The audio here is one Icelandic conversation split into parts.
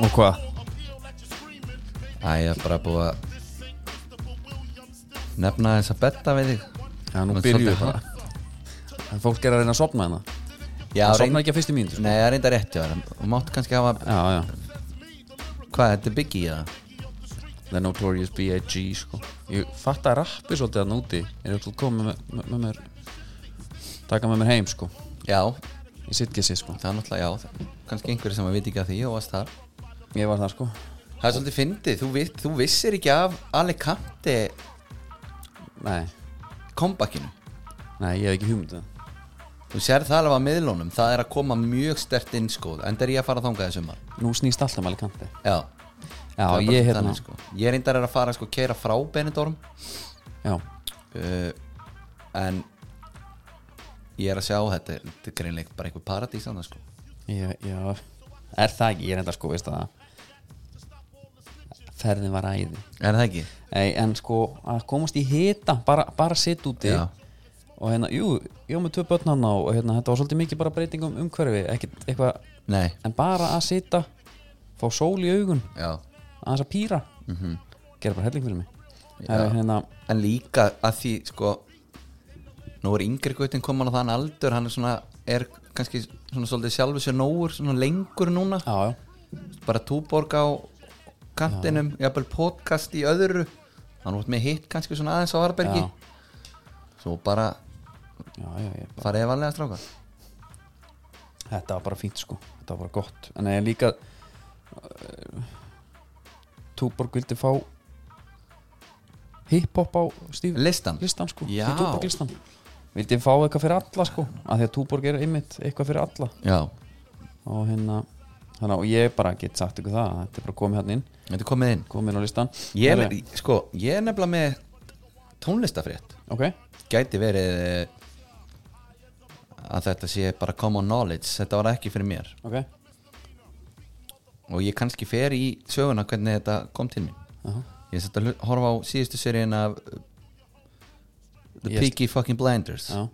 Og hvað? Æ, ég er bara búið að nefna þess að betta við þig Já, nú Hún er byrjuðu svolítið bara En fólk er að reyna að sopna hana Já, Það reynd- sopnar ekki að fyrstu mínútu sko. Nei, það er reynda rétt, já og máttu kannski hafa, Já, já hvað, þetta er Biggie eða? The Notorious B.I.G. sko Ég fatt að rappi svolítið að núti Er alltaf komið með, með, með mér Taka með mér heim sko Já, Ég sitt ekki að sér sko það er náttúrulega, já það- kannski einhverju sem að viti ekki að því og varst þar Ég var það sko Það er svolítið fyndið, þú, vi- þú vissir ekki af Alicante Nei, kompakinu nei, ég hef ekki hugmynd um það Þú sér það alveg að miðlunum, það er að koma mjög stert inn sko, enda er ég að fara þangað í sumar Nú snýst alltaf með Alicante Já, Já, það ég er bara svolítið hérna þannig, sko. Ég reyndar er að fara sko keira frá Benidorm Já, uh, en ég er að sjá þetta er- þetta er greinleikt bara einhver paradís annars sko ég, já Er það ekki, ég er enda sko, veist það Ferðin var æði er það ekki? Nei, en sko að komast í hita bara, bara sitt úti Já. og hérna, jú, ég var með tvö börn hann á og hérna, þetta var svolítið mikið bara breytingum umhverfi ekkert eitthvað, Nei, en bara að sita fá sól í augun, já aðeins að pýra -hmm. gera bara helling fyrir mig Það er hérna, en líka að því sko nú er yngri gautin komin á þann aldur hann er svona, er kannski svona svolítið sjálfur sér nógur, svona lengur núna já, já bara túborg á kantinum, jafnvel podcast í öðru hann vart með hitt kannski svona aðeins á Harbergi Já. svo bara Já, já, já, farið eða vanlega stráka þetta var bara fínt sko þetta var bara gott, en ég líka uh, Túborg vildi fá hiphop á stíf listan, listan sko, Já. í Túborg listan vildi fá eitthvað fyrir alla sko að því að Túborg er einmitt eitthvað fyrir alla já, og hérna þannig að ég bara get sagt ykkur það að þetta er bara komið hérna inn, þetta er komið inn komið inn á listan Ég er, Herri, sko, ég er nefnilega með tónlistafrétt ok, Gæti verið eh, að þetta sé bara common knowledge Þetta var ekki fyrir mér ok Og ég kannski fer í söguna hvernig þetta kom til mín Aha. Ég sett að hlu- horfa á síðustu seríin af uh, The Ég- Peaky Fucking Blinders já.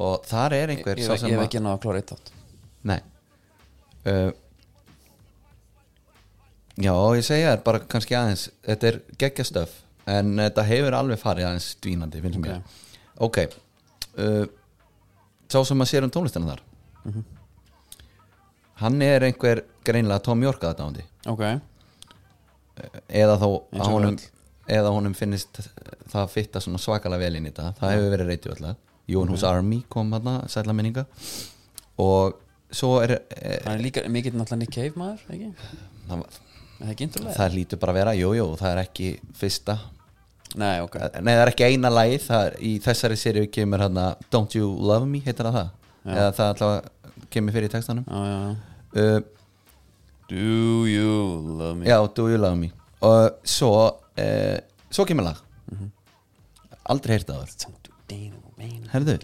Og þar er ég, einhver ég, sá sem ég hef að- ekki náða að klára eitt átt Nei uh, Já, ég segja þér bara kannski aðeins Þetta er geggjastöf En þetta hefur alveg farið aðeins dvínandi finnst mér Ok uh, Sá sem að sér um tónlistina þar Mhm. Hann er einhver greinlega Tom York aðdándi ok, eða þá Eins og að honum, öll. eða honum finnist það fitta svona svakalega vel inn í þetta það hefur verið reytið alltaf Jónhús Mhm. Army kom hann, sætla minninga og svo er e, það er líka mikið náttúrulega Nick Cave maður, ekki? það, Er það ekki introlega? það lítur bara að vera, jújú, jú, það er ekki fyrsta, Nei, ok nei það er ekki eina lagið, það er, í þessari séri kemur hann að Don't You Love Me, heitir það það eða það alltaf kemur fyrir í textanum já, já, já. uh, Do you love me? já, Do You Love Me og svo uh, svo kemur lag Mhm. aldrei heyrta það áður. Herðu.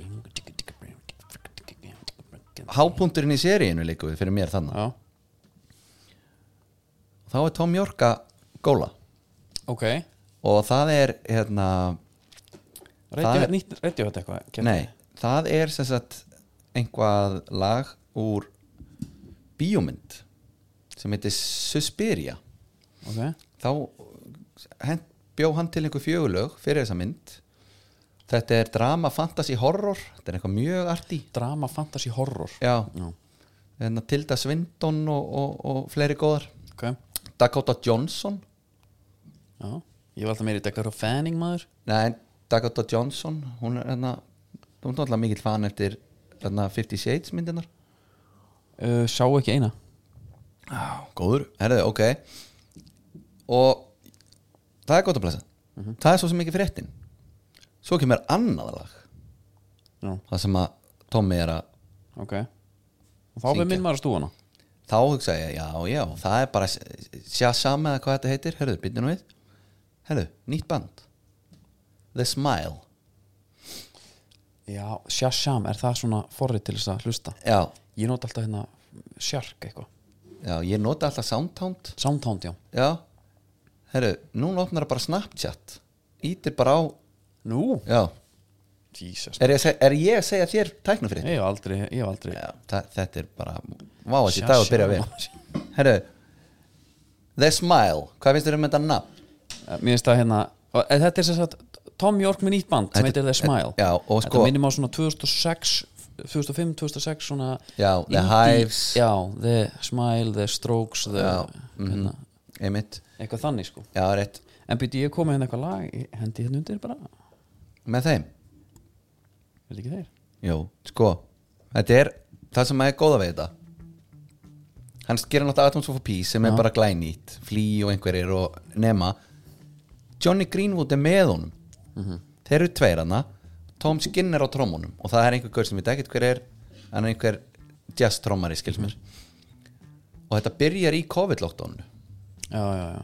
hápunkturinn í seríinu líka við fyrir mér þannig Já, þá er Tom Jorka góla ok og það er hérna, Það er- Rætti þetta eitthvað? Kjartan? nei, það er sem sagt einhvað lag úr bíómynd sem heitir Suspiria Ok, þá hent, bjó hann til einhver fjögulög fyrir þessa mynd þetta er drama, fantasy, horror þetta er eitthvað mjög arti drama, fantasy, horror já, Já. hérna Tilda Svindon og, og, og fleiri góðar Ok, Dakota Johnson já Ég var alltaf meiri Dakar og Fanning maður Nei, Dakota Johnson hún er hérna hún er alltaf mikill fan eftir hérna, 50 Shades myndinar uh, Sá ekki eina ah, Góður, herðu, ok og það er gott að blessa það er svo sem ekki fréttin svo kemur annað lag Já, það sem að Tommy er að ok Og þá við Syngja. minn maður að stúana þá hugsa ég, já, já, það er bara Shazam eða hvað þetta heitir, herðu, byrja nú við herðu, nýtt band The Smile Já, Shasham, er það svona forrið til þess að hlusta? já, Ég nota alltaf hérna Shark eitthvað já, ég nota alltaf Soundhound Soundhound, já Já Herru, núna opnar það bara Snapchat Ítir bara á Nú, Já Jesus Er ég að segja, er ég að segja þér tæknum fyrir Ég hef aldrei, ég hef aldrei Já, þa- þetta er bara Vá, þessi dag að byrja vel herru The Smile, hvað finnst þér um þetta nafn? Mér finnst það hérna og- en Þetta er sem sagt Tom York með nýtt band sem Þetta- heitir The Smile já, og sko- Þetta minnum á svona 2006 2005, 2006 svona Já, The indie- Hives. Já, The Smile, The Strokes the, Já, mhm. hérna, Einmitt, Eitthvað þannig sko já, rétt En byrju ég komið hérna eitthvað lag ég Hendi hérna undir bara, er Með þeim, þetta ekki þeir? jú, sko Þetta er það sem er góða við þetta Hann gerir náttúrulega Atoms of a Peace sem er bara glænýtt Flea og einhverjir og nema Johnny Greenwood er með honum Þeir eru tveir hana Tom Skinner á trommunum og það er einhver gaur sem ég veit ekkert hver er hann er einhver jazz trommari skils mér og þetta byrjar í COVID-lóktónu Já, já, já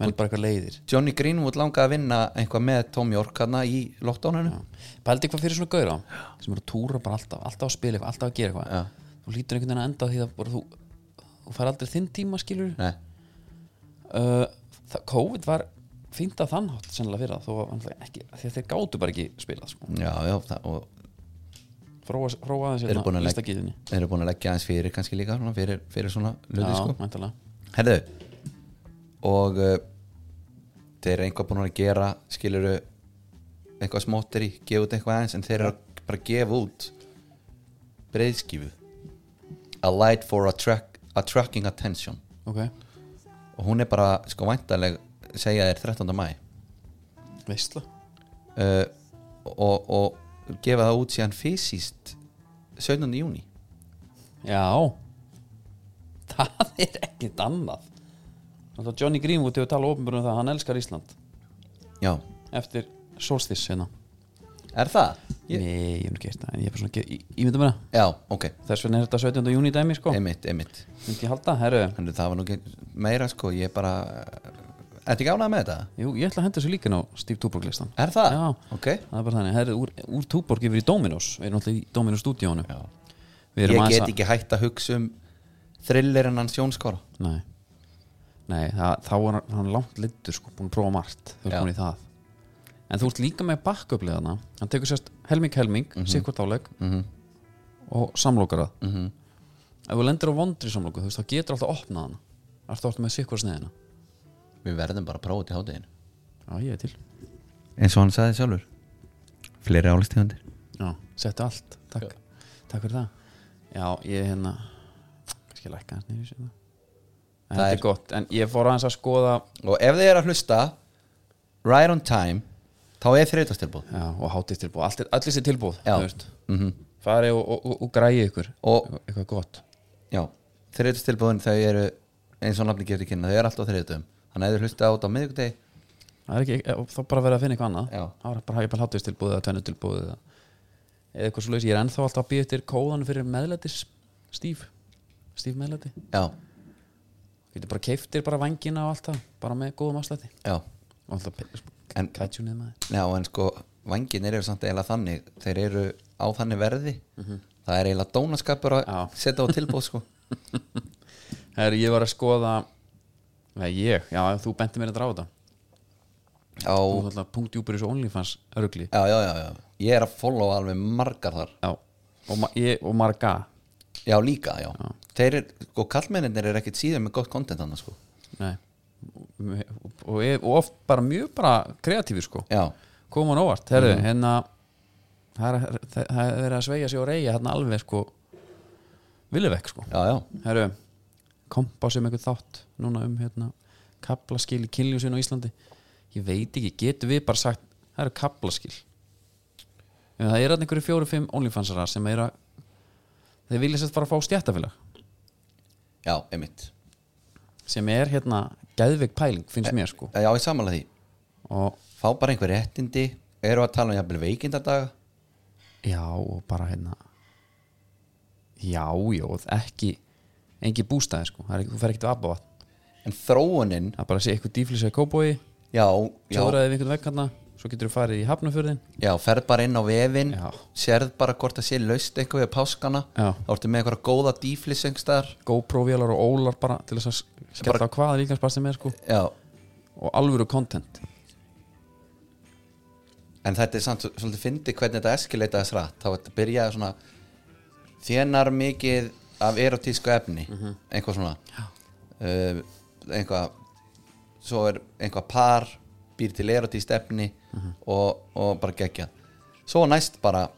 Menn bara eitthvað leiðir Johnny Greenwood langaði að vinna eitthvað með Tom York hana í lockdowninu Pældi eitthvað fyrir svona gauðra sem eru að túra bara alltaf, alltaf að spila eitthvað alltaf að gera eitthvað Já. Þú lítur einhvern veginn að enda á því að bara þú þú fær aldrei þinn tíma skilur Nei, uh, það- COVID var fínt að þann hátt sennilega fyrir það þó að náttúrulega ekki, af því að þeir gátu bara ekki spilað sko. já, já, það, og fróa, fróa aðeins þeir eru búin hérna að leggja listakíðinni þeir eru búin að leggja aðeins fyrir kannski líka svona, fyrir, fyrir svona já, hluti sko mæntalega Herðu, og uh, þeir eru einhvað búin að gera skiluru eitthvað smóttir í, gefa út eitthvað aðeins en þeir eru að bara að gefa út breiðskifu A light for attract, attracting attention ok, og hún er bara sko væntaleg segja þér 13. mæ veistla uh, og, og gefa það út síðan fysiskt 17. júni já það er ekkit annað Alltaf Johnny Greenwood hefur talað ofinbjörn um það að hann elskar Ísland Já, eftir Solstice hérna er það? Ég... nei, ég hef nú gert það en ég er bara svona að ímynda mér það Já, ok, þess vegna er þetta 17. júni dæmi sko einmitt, einmitt myndi ég halda, herru Þannig það var nú ekki meira sko, ég bara Ertu ekki ánað með þetta? jú, ég ætla að henda þessu líka ná Steve Tupac listan Er það? Já. Ok það er bara þannig, það er úr, úr Túborg yfir í Dominos við erum alltaf í Dominos stúdíónu Já. við Ég erum aðeins get ekki hægt að hugsa um thrillerinn hans Jónskora nei, nei það, þá er hann- hann langt littur sko, búin að prófa margt þú Já. ert komin í það en þú ert líka með bakkuplega þarna hann tekur sérst helming helming, mm -hmm. sikkvort áleg Mhm. og samlokar það mm ef þú lendir á vondri samloku, þú veist, þá getur alltaf opnað hana Það ertu alltaf með sikkvort sneðina Við verðum bara að prófa til háteginu já, ég er til Eins og hann sagði sjálfur Fleiri álistegundir já, settu allt, takk, takk fyrir það já, ég hérna kannski lækka hans nýri sér það Það þetta er- er gott, en ég fór aðeins að skoða Og ef þið er að hlusta Right on time Þá er þreytastilbúð já, og hátíðstilbúð, allt, er- allir sér tilbúð Já. þú veist. mm -hmm. farið og, og, Mhm. og, og græði ykkur Og eitthvað gott já, þreytastilbúðin þau eru Eins og nafni gefur kynna, þau eru alltaf þreytum Þannig að ef þið hlusta á þetta á miðvikudegi það er ekki, eh, og þá bara verið að finna eitthvað annað Já. það var bara, bara hátíðstilbúð eða tvennutilbúð eða, eða eitthvað svo ég er ennþá alltaf að býja eftir kóðan fyrir meðlætis stíf, stíf meðlæti Já, getur bara keiftir bara vangina og allt það bara með góðum afslætti já og alltaf En- kætjúnið maður Já, en sko, vanginir eru samt eiginlega þannig þeir eru á þannig verði það er eiginlega dónaskapur að Já. setja á tilbúð sko Herri, ég var að skoða Nei, ég, já, þú benti mér að draga þetta já, Þú er alltaf punktjúpur í svo OnlyFans örgli já, já, já, já, ég er að followa alveg margar þar, Já, og, ma ég, og marga já líka, já, þeir eru, sko, kallmenninir eru ekkit síður með gott kontent annars sko, Nei og, og, ég- og oft bara mjög bara kreatífur sko já, Koma hann óvart, herri, mm. hérna Það er- það- það er verið að sveigja sig og reyja hérna alveg sko Villivekk sko já, já Herru, kompa sem einhvern þátt núna um hérna kaplaskil í kynljósin á Íslandi ég veit ekki, getum við bara sagt það eru kaplaskil en það er að einhverju fjóru fimm OnlyFansarar sem er að þeir vilja sérst bara fá stjættafélag já, einmitt, sem er hérna geðveik pæling finnst mér sko já, ég samanlega því og fá bara einhver réttindi, eru að tala um jafnvel veikindardaga, já og bara hérna já, já, og ekki engi bústæði sko, það er ekki, þú fer ekkert að abba en þróunin það er bara að sé eitthvað dýflýsa í kóbói já, já, tjóraði við einhvern vegkanna, svo getur þú farið í hafnafjörðin já, ferð bara inn á vefin Já. sérð bara hvort það sé laust eitthvað við páskana Já. þá ertu með eitthvað góða dýflissöngstar GoPro-vélar og ólar bara til þess að skella á hvaða líkansbar sem er sko Já, og alvöru content en þetta er samt svo- svolítið fyndi hvernig þetta eskileitaðis rætt þá þetta byrjaði svona þénar mikið af erotísku efni eitthvað svona Mhm. Já. uh, einhvað svo er einhvað par býr til erot í stefni Mhm. og, og bara gegja svo næst bara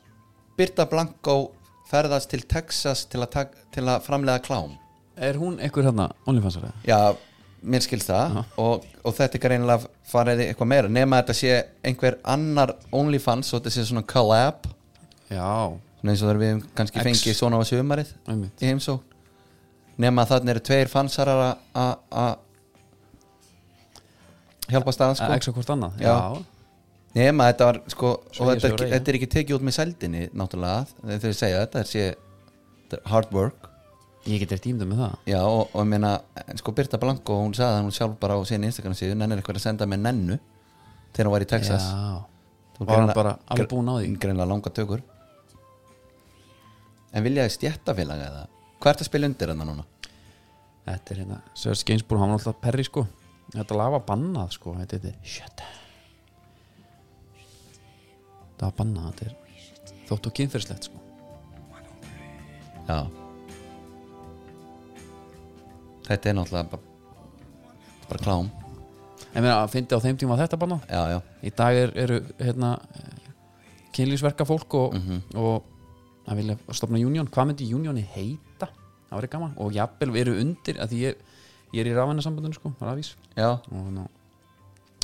Birta Blanko ferðast til Texas til að, tak- til að framlega klám Er hún einhver hérna OnlyFansar eða? Já, mér skilst það og, og þetta er greinilega farið í eitthvað meira nema að þetta sé einhver annar OnlyFans og þetta sé svona collab Já, svona eins og þegar við höfum kannski X. fengið svona á sumarið einmitt í heimsókn nema að þarna eru tveir fansarar að- að að hjálpa staðan Að sko exa hvort annað Já. nema að þetta var sko og Sveigja þetta, sig og reigja. þetta er ekki tekið út með sældinni náttúrulega þegar þau segja þetta þetta sé þetta er hard work Ég get eftir ímda með það Já, og, og ég meina, en sko Birta Blanko, hún sagði að hún sjálf bara á sinni Instagram síðu, nennir eitthvað að senda með nennu þegar hún var í Texas Já Þú Var hann greinilega- bara alveg búin á því Greinlega langa tökur En viljaði stjættafélaga eða? Hvað ertu að spila undir hennar núna? Þetta er hérna Sörst Geinsbúr, hann var alltaf perri sko Þetta lag var bannað sko Þetta heitir Shut up Þetta var bannað Þetta er þótt og kynferðslegt sko Já Þetta er náttúrulega bara, bara klám En meina, fyndi á þeim tíma var þetta bannað Já, já, Í dag er, eru hérna kynlýsverka fólk og, og að vilja stopna union Hvað myndi unioni heita? Það væri gaman og jafnvel eru undir að því ég, ég er í rafæna sambandinu sko, rafís já og ná,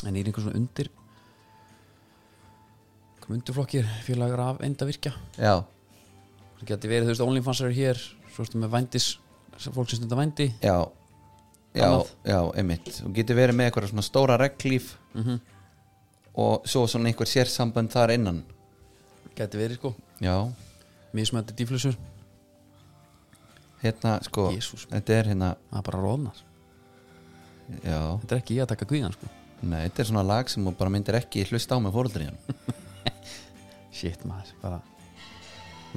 en ég er einhver svona undir kom undirflokkir félag raf enda virkja Já, það geti verið þú veist OnlyFans eru hér svo ertu með vændis fólk sem stundar vændi já Já, Annað. já, einmitt Þú getur verið með eitthvað svona stóra reglíf og svo svona einhver sérsambönd þar innan geti verið sko Já, mismöndi dýflusur það hérna sko Jesús minn. Þetta er hérna, er bara róðnar já þetta er ekki ég að taka kvíðan sko Nei, þetta er svona lag sem þú bara myndir ekki hlusta á með fóruldriðan shit maður bara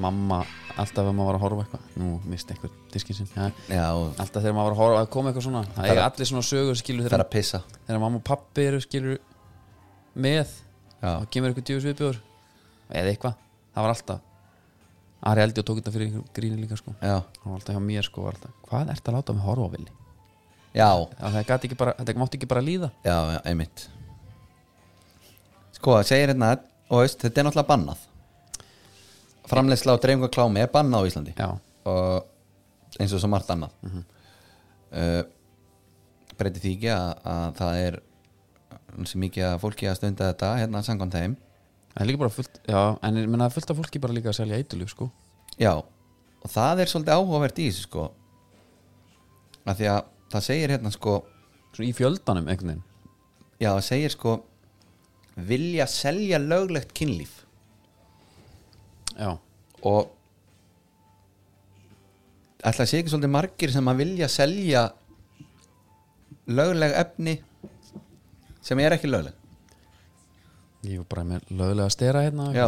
mamma alltaf ef maður var að horfa á eitthvað nú misti einhver diskin sinn ja. Já, og alltaf þegar maður var að horfa að koma eitthvað svona það er allir svona sögur skilur það er þegar, að pissa þegar mamma og pappi eru skilur með Já, þá kemur eitthvað djöfus viðbjóður eða eitthvað, það var alltaf Ari Eldi og tók þetta fyrir einhverjum gríni líka sko já, hann var alltaf hjá mér sko var alltaf, hvað ert að láta mig horfa á villi já, það gat ekki bara, þetta mátti ekki bara líða já, já einmitt Sko, það segir hérna og veist, þetta er náttúrulega bannað Framleiðsla og dreifingar klámi er bannað á Íslandi já, og eins og svo margt annað mm breyti því ekki að, að það er sem mikið að fólki að stunda þetta hérna sangan þeim það er líka bara fullt já, en ég menna það er fullt af fólki bara líka að selja eitulug sko Já, og það er svolítið áhugavert í þessu sko að því að það segir hérna sko svona í fjöldanum einhvern veginn já, það segir sko vilja selja löglegt kynlíf já, og ætla að sé ekki svolítið margir sem að vilja selja lögleg efni sem er ekki lögleg ég var bara með lögulega að stera hérna já,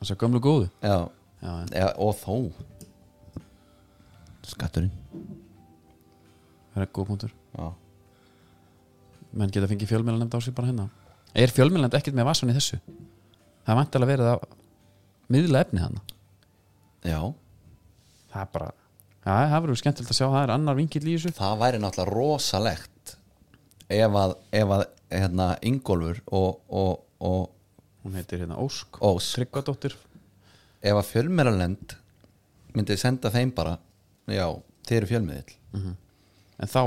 þess að gömlu góðu já, já, en já, og þó skatturinn það er góð punktur já, menn geta fengið fjölmjölanend á sig bara hérna er fjölmjölanend ekkert með vassan í þessu það er vantilega verið að miðla efni hana já. það er bara já, það verður skemmtilegt að sjá, það er annar vingill í þessu það væri náttúrulega rosalegt ef að, ef að hérna, Ingólfur og, og, og hún heitir hérna Ósk Ós Tryggvadóttir ef að fjölmeralend myndi senda þeim bara já, þeir eru fjölmiðill en þá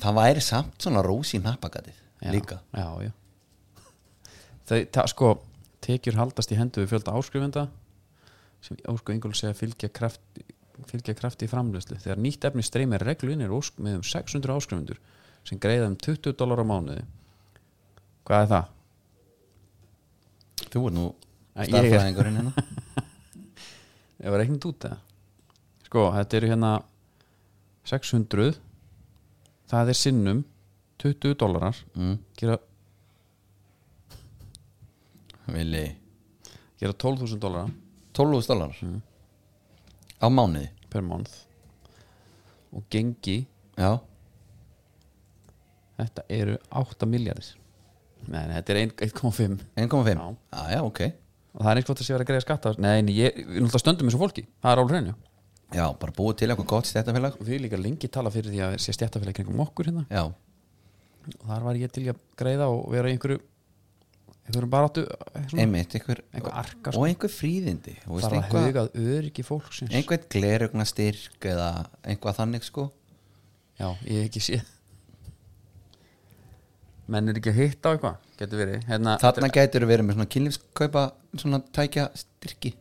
það væri samt svona rós í nappagatið já, líka já, já. Þau, það sko tekjur haldast í hendu við fjölda áskrifenda sem Ósk og Ingól segja fylgja kraft fylgja krafti í framleyslu þegar nýtt efni streymir reglun er Ósk með um 600 áskrifendur sem greiða um 20 dólar á mánuði hvað er það? þú er nú Æ, ég er- starfræðingurinn hérna Ég var reiknit út það Sko, þetta eru hérna 600 Það er sinnum 20 dólarar mm, gera, vilji gera 12.000 dólarar 12.000 dólar Mm. á mánuði per month og gengi já, þetta eru 8 miljardir Nei, nei, þetta er ein- 1,5 1,5 já. Já. já, ok og það er eins gott að sé verið að greiða skatta Nei, nei, ég, við náttúrulega stöndum eins og fólki það er alveg hreinu já, bara búið til eitthvað gott stættafélag og við líka lengi tala fyrir því að sé stjættafélag kringum okkur hérna já, og þar var ég til í að greiða og vera í einhverju einhverjum baráttu svona, einmitt, einhver, Einhver arka, sko. og einhver fríðindi og veist, þar að einhver, hugað öryggi fólksins einhver glerugna styrk eða einhvað þannig sko já, ég hef ekki séð menn er ekki að hitta á eitthvað getur verið hérna, þarna gætur verið með svona kynlífskaupa svona tækja styrki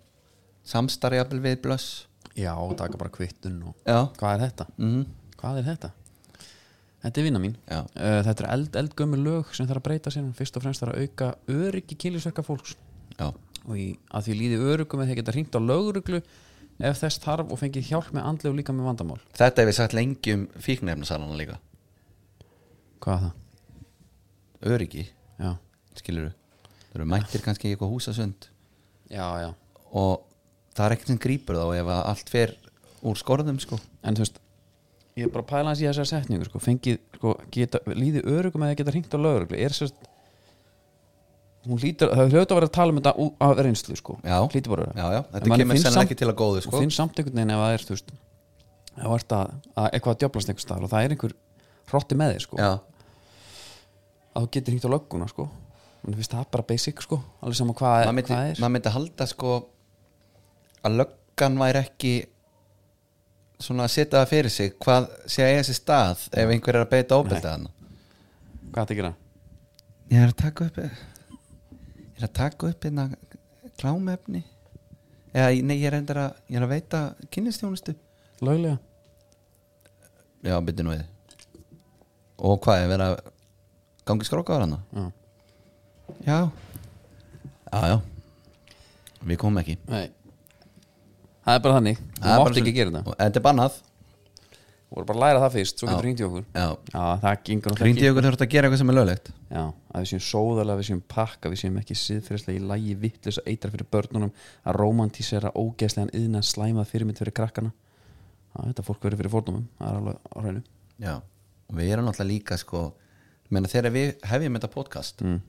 samstarjafil við blöss já, taka bara kvittun og já, hvað er þetta? mhm, Hvað er þetta? Þetta er vinna mín já, uh, Þetta er eld, eldgömmur lög sem þarf að breyta sér fyrst og fremst þarf að auka öryggi kynlisverka fólks já, og í, að því líði öryggum eða þeir geta hringt á löguruglu ef þess þarf og fengið hjálp með andlega og líka með vandamál þetta hef ég sagt lengi um fíknefnasalana líka Hvað er það? öryggi, Já, skilur þau eru mættir kannski í eitthvað húsasund já, já og það er ekkert sem grípur þá ef að allt fer úr skorðum sko En þú veist, ég er bara að pæla hans í þessar setningu sko, fengið, sko, geta, líði öryggum eða geta hringt á löguruglu er sérst hún lítur, það hljóta að vera að tala um þetta ú- af reynslu sko, Já. hlýtur bara að vera. já, já, En þetta manni kemur finnst sennilega samt- ekki til að góðu og sko finn samt einhvern veginn ef það er þú veist, ef það ert að, að eitthvað að djöflast einhvers staðar og það er einhver hrotti með þig sko, já, að þú getur hringt á lögguna sko, mann finnst það bara basic sko, alveg saman hvað, maður myndi, hvað er mað myndi halda sko að löggan væri ekki svona að setja það fyrir sig hvað sé að eiga sér stað ef einhver er að beita óbelta hann hvað þetta gera, ég er að taka upp ég er að taka upp hérna klámefni eða nei, ég er endur að ég er að veita kynlistjónustu löglega já, byrju nú við og hvað, er verið að gangi skrókaður hann Já. já já, já við komum ekki Nei. það er bara þannig þú Það er bara mátt ekki svona- gera þetta, og þetta er bannað þú voru bara að læra það fyrst svo Já. getur hringt í okkur, já, já það gengur náttúrulega Hrýndi ykkur þurft að gera eitthvað sem er löglegt Já, að við séum sóðalega, við séum pakka við séum ekki siðferðislega í lægi vittlis að eitra fyrir börnunum, að romantísera ógeðslegan yðna slæmað fyrirmynd fyrir krakkana Já, þetta fólk verður fyrir fórnumum það er alveg á hreinu Já, og við erum náttúrulega líka sko ég meina þegar við hefjum þetta podcast mm.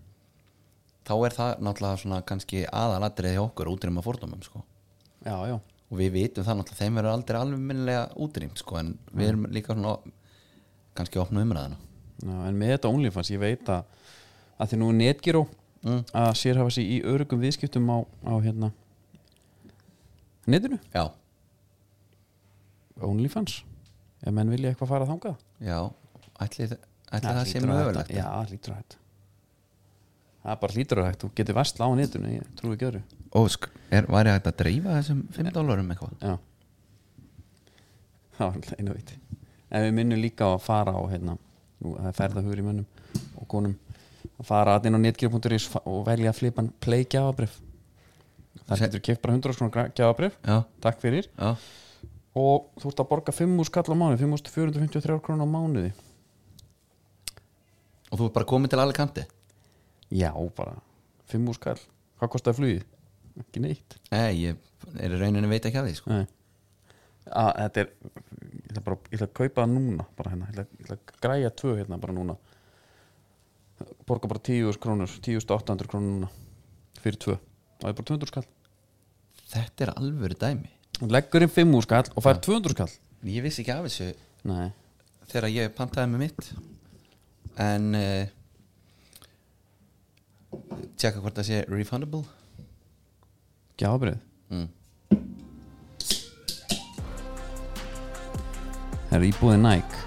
þá er það náttúrulega svona kannski aðalatrið hjá okkur útrýma fordómum sko Já, já, og við vitum það náttúrulega þeim verður aldrei alveg minnilega útrýmt sko en við erum líka svona kannski opna umræðina Já, en með þetta OnlyFans, ég veit að að því nú er netgíró Mm. að sér hafa sér í örugum viðskiptum á, á hérna netinu, Já, OnlyFans ef menn vilja eitthvað fara þangað já, ætli, ætli hlýtur það sé að hætta. mögulegt Já, það hlýtur að hætta Það er bara hlýtur að hætta, þú getur vast á netinu, ég trúi ekki öðru Ósk, er, væri hægt að dreifa þessum 5 dólarum eitthvað? Já Það var alltaf einu viti En við minnum líka á að fara á hérna, nú, það er ferðahugur í mönnum og konum að fara að inn á netgear.is fa- og velja flipan play gjafabrif Það Se- getur keft bara 100 skrónar gjafabrif Já, Takk fyrir já, og þú ert að borga 5 úr skall á mánuði 5.453 krónar á mánuði og þú er bara komin til alveg kanti Já, bara 5 úr skall Hvað kostaði flugið? Ekki neitt Nei, ég er í rauninni veit ekki af því sko Nei að, Þetta er ég ætla, bara, ég ætla að kaupa það núna bara hérna, ég ætla, ég ætla að græja tvö hérna bara núna borga bara 10.000 krónur 10.800 krónur núna fyrir tvö það er bara 200 skall Þetta er alvöru dæmi Þú leggur inn 5 skall og fær 200 skall Ég vissi ekki af þessu Nei, þegar ég pantaði með mitt en uh, tjekka hvort það sé refundable gjábrið mm. Það er íbúðið Nike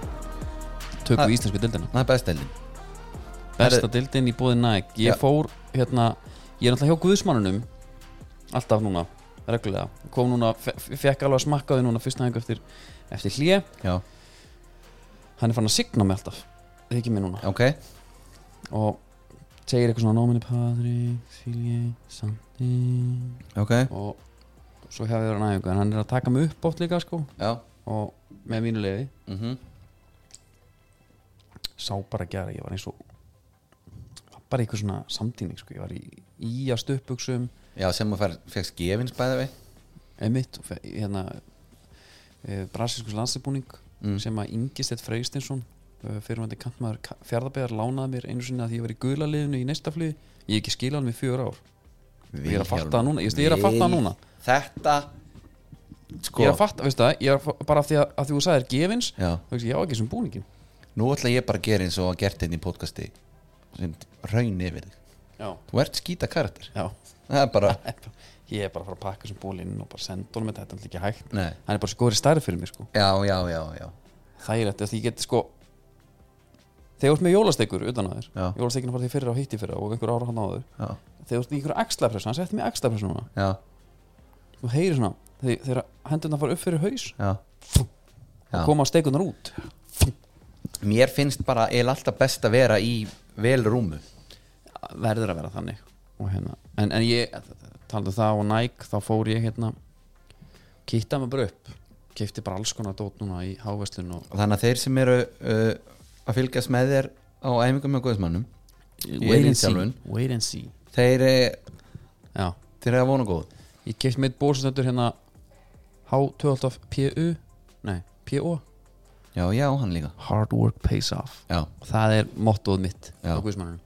tökum Það- ha. íslensku dildina það er bestældin besta dildin í búðið Nike ég Já. fór hérna ég er náttúrulega hjá Guðsmannunum alltaf núna reglulega kom núna fe- fe- fekk alveg að smakka á því núna fyrst aðeins eftir, eftir hlýja já, hann er fann að signa mig alltaf það er ekki mér núna ok, og segir eitthvað svona nóminni Patrik, Silje, Sandi ok og svo hefur ég verið næðingu en hann er að taka mig upp átt líka sko já, og með mínu leiði mhm sá bara að gera, ég var eins og var bara eitthvað svona samtíning sko, ég var í, í að stöpuksum já, sem þú fegst gefins bæði vei emitt og fe- hérna e, brasinskus landsleifbúning Mm. sem að Ingistedt Freystinsson fyrirvændi kantmaður Ka- Fjarðabyggðar lánaði mér einu sinni að því ég var í gula liðinu í næsta flug ég hef ekki skilað hann með fjör ár Ég er að fatta það núna, ég veist, ég er að fatta það núna. þetta sko, Ég er að fatta, veistu það, ég er að fa- bara af því að, að því þú sagðir gefins Já. þú veist, ég á ekki sem búningin nú ætla ég bara að gera eins og að gert einn í podcasti sem raun yfir þig Já, þú ert skýta karakter já það er bara, Ég er bara að fara að pakka sem búlinn og bara senda honum þetta, þetta er alltaf ekki hægt nei, Hann er bara svo góður í stærð fyrir mig, sko já, já, já, já Þægilegt, því ég get, sko Þegar þú ert með jólastekur utan að þér Já. Jólastekin var því fyrir á hitti fyrir og einhver ára hann áður já, Þegar þú ert í einhverju axlapressu, hann setti mig axlapressu núna já, Þú heyrir svona, þegar, þegar hendurna fara upp fyrir haus já. Já. og koma steikunnar út mér finnst bara eða alltaf best að vera í vel rúmu verður að vera þannig og hérna, en, en ég talandi um það og Nike, þá fór ég hérna kýtta mig bara upp kefti bara alls konar dót núna í háveslun og þannig að þeir sem eru uh, að fylgjast með þér á æfingum með guðismannum wait and, see, Elitþjálfun. wait and see þeir, eh, já, þeir eru að vona góð ég kefti mitt bólsöndur hérna H12PU nei, PO já, já, hann líka Hard work pays off já. og það er mottoð mitt á Já. Guðsmanninu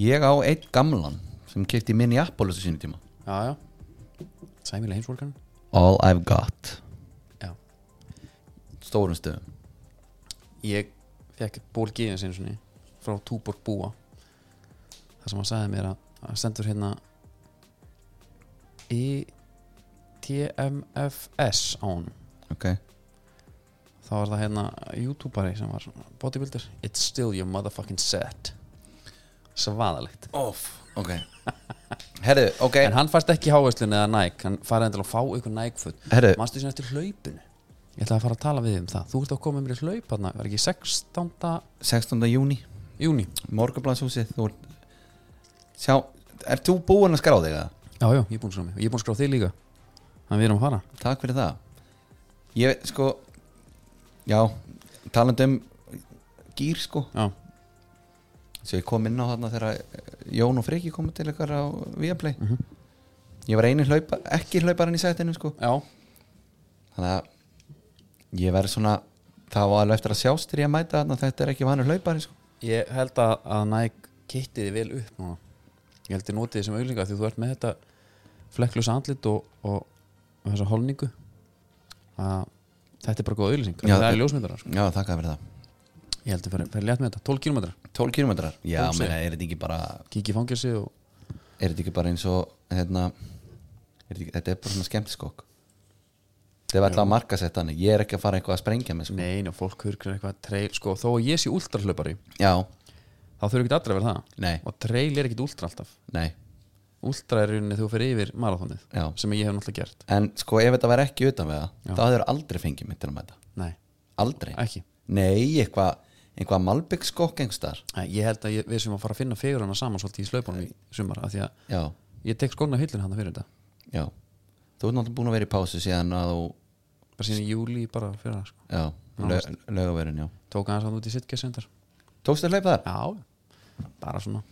ég á einn gamlan sem kefti minni Apollos á sínu tíma já, já, sæmilega heimsvorkarinn All I've Got Já. stórum stöðum ég fekk ból gefin sinni svona frá Túborg Búa það sem hann sagði mér að, að stendur hérna E í TMFS á hann ok, þá var það hérna youtuberi sem var bodybuilder it's still your motherfucking set svaðalegt off ok herru, ok, en hann fæst ekki hávæslun eða Nike hann farið endilega að fá ykkur Nike föt herru mannstu sem eftir hlaupinu ég ætlaði að fara að tala við þig um það þú ert að koma með mér í hlaup hérna var ekki 16. 16. júni, júni morgunblanshúsið þú ert sjá, ert þú búinn að skrá þig að Já, já, ég er búinn að skrá mig og ég er búinn að skrá þig líka Þannig að við erum að fara takk fyrir það ég, sko já, talandi um gýr sko Já, svo ég kom inn á þarna þegar eh, Jón og Friki komu til ykkar á Viaplay ég var einu hlaupa, ekki hlauparinn í sætinu sko já, þannig að ég verð svona það var alveg eftir að sjást þegar ég mæta þarna þetta er ekki vanur hlaupari sko. ég held að, að Nike kitti þið vel upp núna Ég held ég notið þið sem auðlinga því þú ert með þetta flekklösa andlit og, og, og þessa holningu að þetta er bara góð auðlýsing Já, það þetta- er ljósmyndarar sko. já þakka fyrir það Ég held að fyrir, fyrir létt með þetta, 12 km 12 kilometrar, já Tólf meina er þetta ekki bara Kiki fangelsi og er þetta ekki bara eins og hérna, er þetta, ekki, þetta er bara svona skemmtiskokk þetta er alltaf að marka sett þannig ég er ekki að fara eitthvað að sprengja mig sko. Nein og fólk hurkur eitthvað trail sko, þó að ég sé últrahlaupari já, þá þurfum ekki allir að vera það nei, og trail er ekkit últra alltaf nei Últra er í rauninni þegar þú fyrir yfir marathonið já. sem ég hef náttúrulega gert en sko ef þetta væri ekki utan við Já. það þá hefur aldrei fengið mig til að mæta Nei, aldrei, ekki nei, eitthvað eitthvað malbyggskokk engstar Æ, Ég held að ég, við sem að fara að finna fegurana saman svolítið í slaupunum í sumar af því að já, ég tek skóna hillin hann fyrir þetta Já, þú ert náttúrulega búin að vera í pásu síðan að þú, bara síðan í júli bara fyrir það sko. já, lög, lögaverin, já tók aðeins hann út í sitgesendar Tókstu að hlaupa þar? Já, bara svona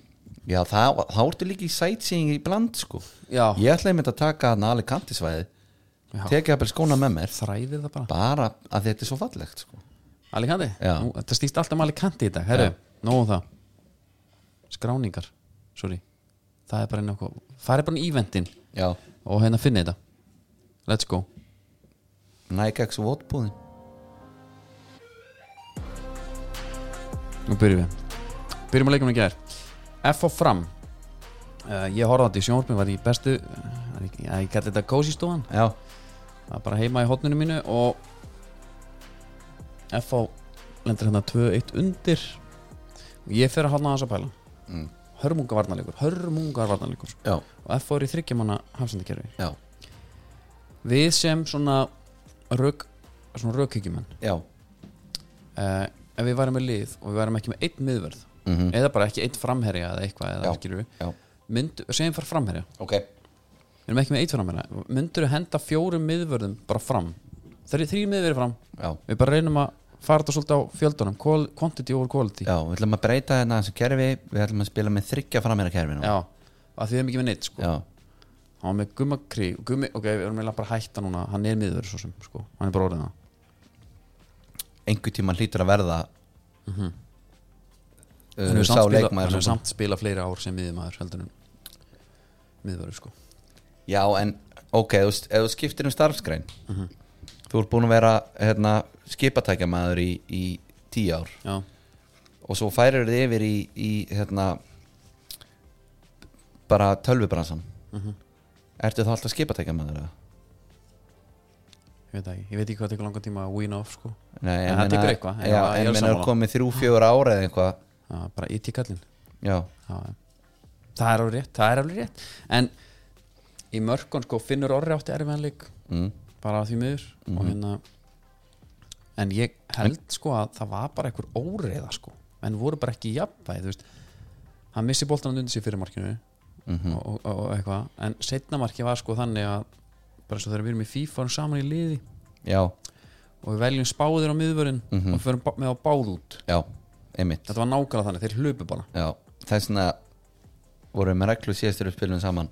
Já, það, þá ertu líka í sightseeing í bland, sko Já, Ég ætlaði með að taka hann alveg kantisvæði Já. Tekið að bel skóna með mér þræðið það bara Bara að þetta er svo fallegt, sko Alicante, Já. Nú, þetta stýst alltaf um Alicante í dag Herru, nóg um það Skráningar, sorry Það er bara inn á okkur Það er bara í eventin Já, og hérna finni þetta Let's go Nike X votbúðin Nú byrjum við Byrjum að leikum í gær F og fram uh, Ég horfði á þetta í sjónvarpin Var í bestu uh, Ég, ég gæti þetta kósi stofan Já, Það var bara heima í hotninu mínu Og F lendur hérna 2-1 undir Og ég fer að hálna þess að pæla Mm. Hörmungar varnarleikur Hörmungar varnarleikur já, Og F er í þryggjamanna hafsendakerfi já, Við sem svona Rök Svona rökhyggjumenn já uh, Ef við værum með lið Og við værum ekki með einn miðverð mhm, Eða bara ekki einn framherja eða eitthvað Já. eða skilur við Já, mynd, segjum fara framherja ok við erum ekki með eitt framherja myndur við henda fjórum miðvörðum bara fram það er þrjú miðvörður fram Já, við bara reynum að fara þetta svolítið á fjöldunum Qual, quantity over quality já, við ætlum að breyta hérna þessu kerfi Við ætlum að spila með þryggja framherra kerfi nú Já, að því við erum ekki með neitt sko. já, hann var með gummakri gummi, ok, við erum eiginlega bara að hætta núna hann er miðvörður svo sem, sko. hann er bara orðin það einhver tíma hlýtur að verða Mhm. uh, hann hefur Sá samt, spila, hann leikmaður hefur sem- samt spila fleiri ár sem miðvörður heldur en miðvörður sko. Já, en ok, ef þú, ef þú skiptir um starfsgrein þú ert búin að vera hérna, skipatækjamaður í, í tíu ár já, og svo færir þið yfir í, í hérna, bara tölvubransan Mhm. ertu þá alltaf skipatækjamaður eða? ég veit það ekki, ég veit ekki hvað tekur langan tíma að win off sko Nei, En en það meina- tekur eitthvað, en já, já, ég en er menn er sammála. komið þrjú, fjögur ára eða eitthvað já, bara ít í kallin já, já, já. það er alveg rétt, það er alveg rétt en í mörkun sko finnur orri átti erfiðanleik mm. Mhm. bara því miður og hérna en ég held sko að það var bara einhver óreiða sko, en voru bara ekki jafnvæg, þú veist hann missi boltan undir sér fyrir markinu Mhm. og, og, og, og eitthvað, en setna marki var sko þannig að bara eins og þegar við erum í FIFA og saman í liði já, og við veljum spáðir á miðvörun Mhm. og förum bá- með á báð út já, einmitt þetta var nákvæmlega þannig, þeir hlupu bara já, þess vegna vorum við með reglu síðastur uppspilum saman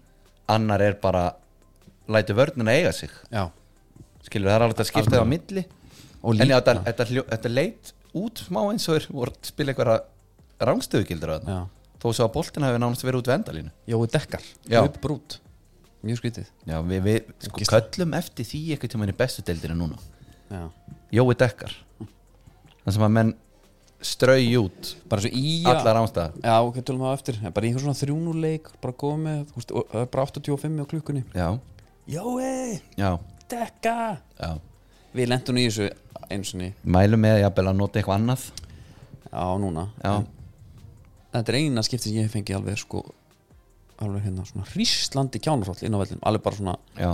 annar er bara lætu vörnina eiga sig já, skilur það er alveg að skipta það á milli Og en já, líka- þetta, þetta, hljó- þetta leit út smá eins og er voru að spila einhverja rangstöðugildur að já. þó svo að boltin hafi nánast verið út vendalínu Jói Dekkar, Já. hlupu bara út mjög skrítið já, við, við sko, Ógeðslegt. köllum eftir því eitthvað tíma í bestu deildinu núna já. Jói Dekkar þannig sem að menn strau út bara svo í allar ámstæða Já, ok, tölum það á eftir En Bara einhver svona þrjúnuleik, bara góð með þú veist, og- Það er bara 85 á klukkunni já, Jói, já, dekka já Við lentum í þessu eins og ný mælum með jafnvel að nota eitthvað annað Já, núna já, Þetta er eina skipti sem ég hef fengið alveg sko Alveg hérna svona hríslandi kjánarhóll inn á vellum Alveg bara svona já,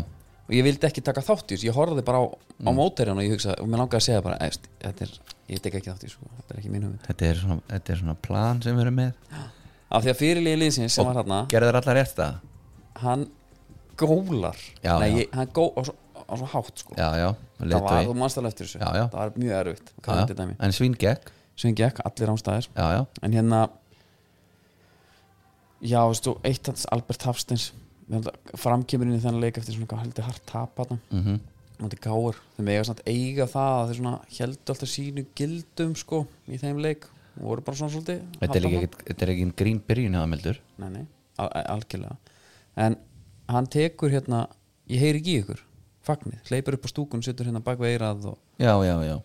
Og ég vildi ekki taka þátt í þessu Ég horfði bara á, á móterjan og ég hugsaði Og mér langaði að segja bara "Æst, Þetta er, ég tek ekki þátt í þessu sko. Þetta er ekki mín hugmynd þetta er svona, þetta er svona plan sem við erum með Af því að fyrirlið liðsins sem var hérna gerðu þær allar rétt það? Hann gólar Já, Nei, já. Ég, hann gó, á, svo, á svo hátt sko já, já, það var, þú leiðtogi. manst alveg eftir þessu Já, já. það var mjög erfitt já, já. dæmi. en svín gekk sem gekk allir ánstæðir já, já, en hérna já, veistu, eitt hans Albert Hafsteins framkemur inn í þennan leik eftir svona hvað heldur hart tapa þarna mm móti káur, þeir mega samt eiga það að þeir svona heldur alltaf sínu gildum sko, í þeim leik og voru bara svona svolítið þetta er harðarna. líka ekkit- þetta er ekki einn grín byrjun hafa meldur nei, nei, al al- algjörlega en hann tekur hérna ég heyri ekki í ykkur, fagnið hleypur upp á stúkun, setur hérna bak við eirað og, já, já, já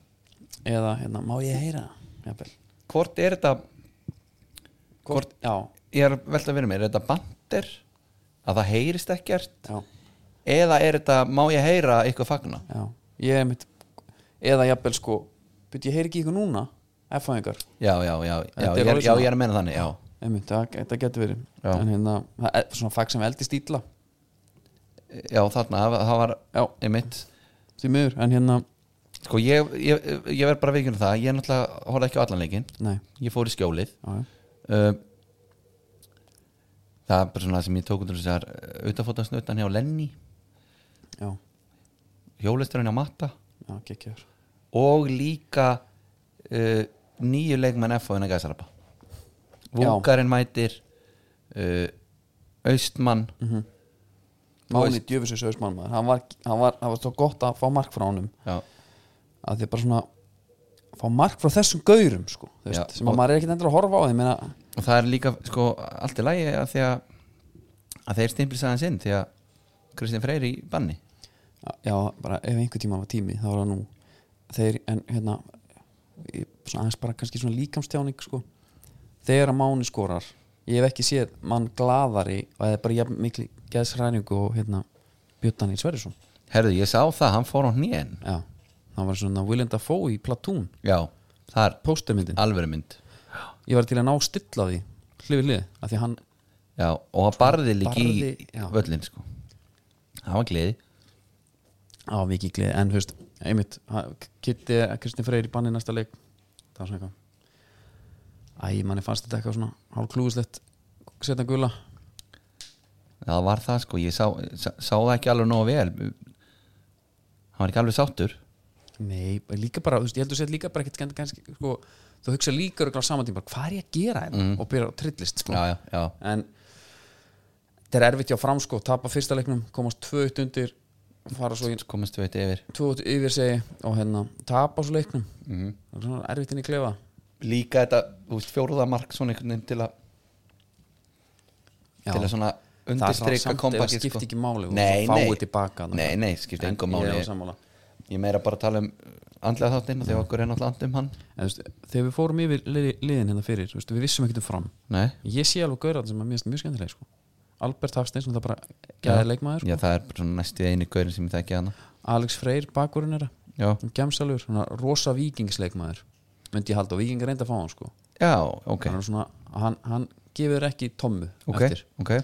eða hérna, má ég heyra það jafnvel hvort er þetta, Hvort, já, ég er að velta að vera mér er þetta bandir, að það heyrist ekkert já, eða er þetta, má ég heyra eitthvað fagna já Ég er mitt Eða jafnvel sko Byrja, ég heyri ekki ykkur núna F-fæðingar já, já, já, já, Þetta er ég er, alveg já, svona- ég er að menna þannig já, Einmitt, það, það getur verið Já. En hérna, það er svona fag sem eldist ítla já þarna, það- það var Já, einmitt, því miður En hérna, sko ég, ég, ég verð bara veikjum það, ég náttúrulega horfði ekki á allan leikinn nei ég fór í skjólið já, já. uh, það er bara svona það sem ég tók undir þessar utafótasnautan hjá Lenny Já, hjólisturinn hjá Matta já, gekkjör og líka uh, nýju leikmenn F.O. en að gæsarapa Já. Vúkarinn mætir uh, Austmann Mhm. Máni djöfisins öðsmálmaður Hann var, hann var, hann var svo gott að fá mark frá honum já, Að því bara svona Fá mark frá þessum gaurum, sko þú veist, Já, Sem og- að maður er ekkert endur að horfa á því meina, og það er líka sko allt í lagi að því að, að þeir stimplis aðeins inn því að Kristján Freyr í banni já, bara ef einhver tíma var tími þá var það nú þeir, en hérna í- svona aðeins bara kannski svona líkamstjáning sko. þegar að máni skorar ég hef ekki séð mann glaðari og það er bara jafn mikli geðsræningu og hérna Björn í Sverrisson herðu ég sá það, hann fór á hnén já, það var svona William Dafoe í Platoon já, það er póstermyndin, alvöru mynd ég var til að ná stilla því hlifið hlið, af því hann já, og hann barði líki barði, í já. völlin sko það var gleði á mikið gleði, en þú veist, einmitt ha- Kitty, Kristinn Freyr í banni næsta leik það var svona eitthvað Æ, manni fannst þetta eitthvað svona hálfklúðislegt setna gula það var það sko, ég sá, sá, sá það ekki alveg nógu vel hann var ekki alveg sáttur Nei, bara líka bara, þú veist, ég heldur sér líka bara ekkert skemmt kannski, sko, þú hugsa líka örugglega á saman tíma, bara, hvað er ég að gera hérna og byrja að trillist, sko, Mm. já, já, já, en þetta er erfitt hjá fram, sko, tapa fyrsta leiknum komast tvö eitt undir fara svo í komast við eitt yfir tvö eitt yfir segi og hérna, tapa svo leiknum Mhm. mm. það er svona erfitt inn í klefa líka þetta, þú veist, fjóruða mark svona einhvern veginn til að Já. til að svona það er undirstreika samt eða kompakið skipti ekki máli og sko. nei, svo fáið nei. tilbaka, þannig. nei, nei, skipti En engum ég er máli alveg sammála. ég meira bara að tala um andlega þáttinn og þegar okkur er náttúrulega andum hann en, þú veist, þegar við fórum yfir liði, liðin hérna fyrir þú veist, við vissum ekkert um fram nei, ég sé alveg gaurað sem að mér finnst mjög skemmtileg sko. Albert Hafsteins, það bara gæði leikmaður sko. já það er bara svona næstu eini gaurin sem ég þekki hana Alex Freyr, bakvörun er já, gemsalur, svona rosa vikingsleikmaður myndi ég halda og vikingar reynda að fá hann sko. já, ok hann, er svona, hann, hann gefur ekki tommu ok, eftir ok,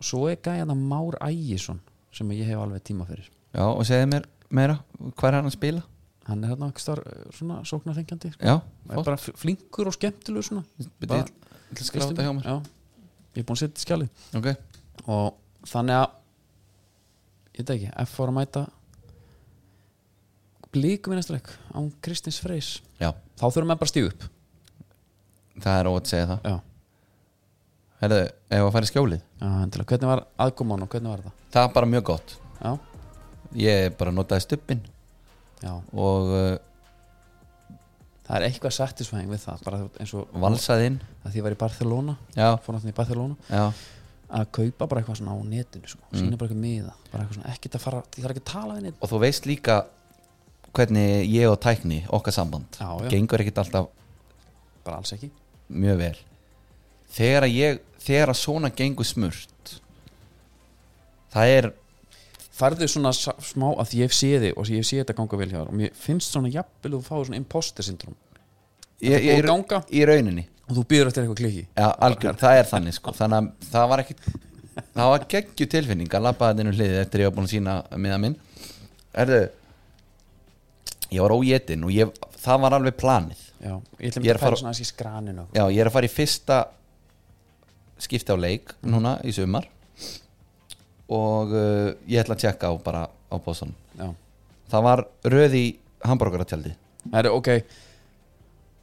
svo er gæðan að Már Ægisson sem ég hef alveg tíma fyrir já og segðu mér meira, hvað er hann að spila hann er hérna ekki star, svona sóknarþengjandi sko. já, er bara fl- flinkur og skemmtilegur svona Bíddu, Bara- ég ætla að skrá þetta hjá mér já, ég er búin að setja í skjali ok, og þannig að ég veit ekki, F var að mæta blíkum í næsta leik án Kristins Freys já, þá þurfum við bara að stíu upp það er óvægt að segja það já, herðu, ef að fara í skjólið já endilega. hvernig var aðkoman og hvernig var það það er bara mjög gott já, ég bara notaði stuppin já, og uh, það er eitthvað satisfæðing við það bara eins og valsaði inn að því ég var í Barcelona já, fór náttúrulega í Barcelona já, að kaupa bara eitthvað svona á netinu sko. sína bara eitthvað miða bara eitthvað svona, ekkert að fara, ég þarf ekki að tala við neitt og þú veist líka hvernig ég og tækni okkar samband Já, já. gengur ekkert alltaf bara alls ekki mjög vel þegar að ég þegar að svona gengur smurt það er farðu svona sa- smá að ég sé þið og ég sé þetta ganga vel hjá þér og mér finnst svona jafnvel og þú fáið svona imposter syndrom ég, er búið að ganga. í rauninni og þú býður eftir eitthvað klikki Já, algjör, það er þannig sko þannig að það var ekki það var geggju tilfinning að labba þetta inn um hliðið eftir ég var búin að sína miða minn erðu ég var óétin og ég, það var alveg planið já, ég ætlum Ég er að fara fara- svona aðeins í skraninu og- Já, ég er að fara í fyrsta skipti á leik núna í sumar og uh, ég ætla að tjekka á bara á bóðsson já, það var röð í hambúrgaratjaldi það eru ok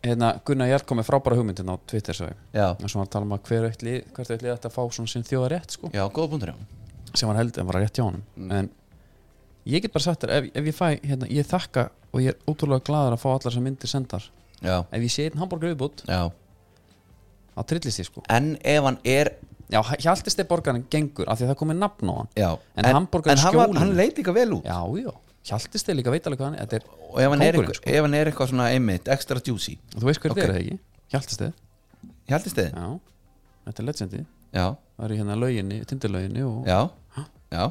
hérna Gunnar Jarl kom með frábæra hugmyndin á Twitter svo ég Já, og svona að tala um að hver eitt lið hvert eitt lið ætti að fá svona sinn þjóða rétt sko já, góða punktur já sem var held en var rétt hjá honum Mm. en ég get bara sagt þér ef, ef ég fæ, hérna, ég þakka og ég er ótrúlega gladur að fá allar sem myndir sendar Já, ef ég sé einn hambúrgar viðbútt já þá trillist ég sko En ef hann er já, Hjaltistei borgarinn gengur af því að það komið nafn á hann Já, En hamborgarinn en hann, var, skjólin. hann leit líka vel út já, já, Hjaltistei líka veit alveg hvað hann er þetta er, Og ef hann, er Kóngurinn, sko. eitthvað, ef hann er eitthvað svona einmitt Extra juicy þú veist hver okay. Ok. þetta er eða ekki Hjaltistei, Hjaldist þið? já, þetta er legendi Já, það er í hérna lauginni, tindilauginni og já, já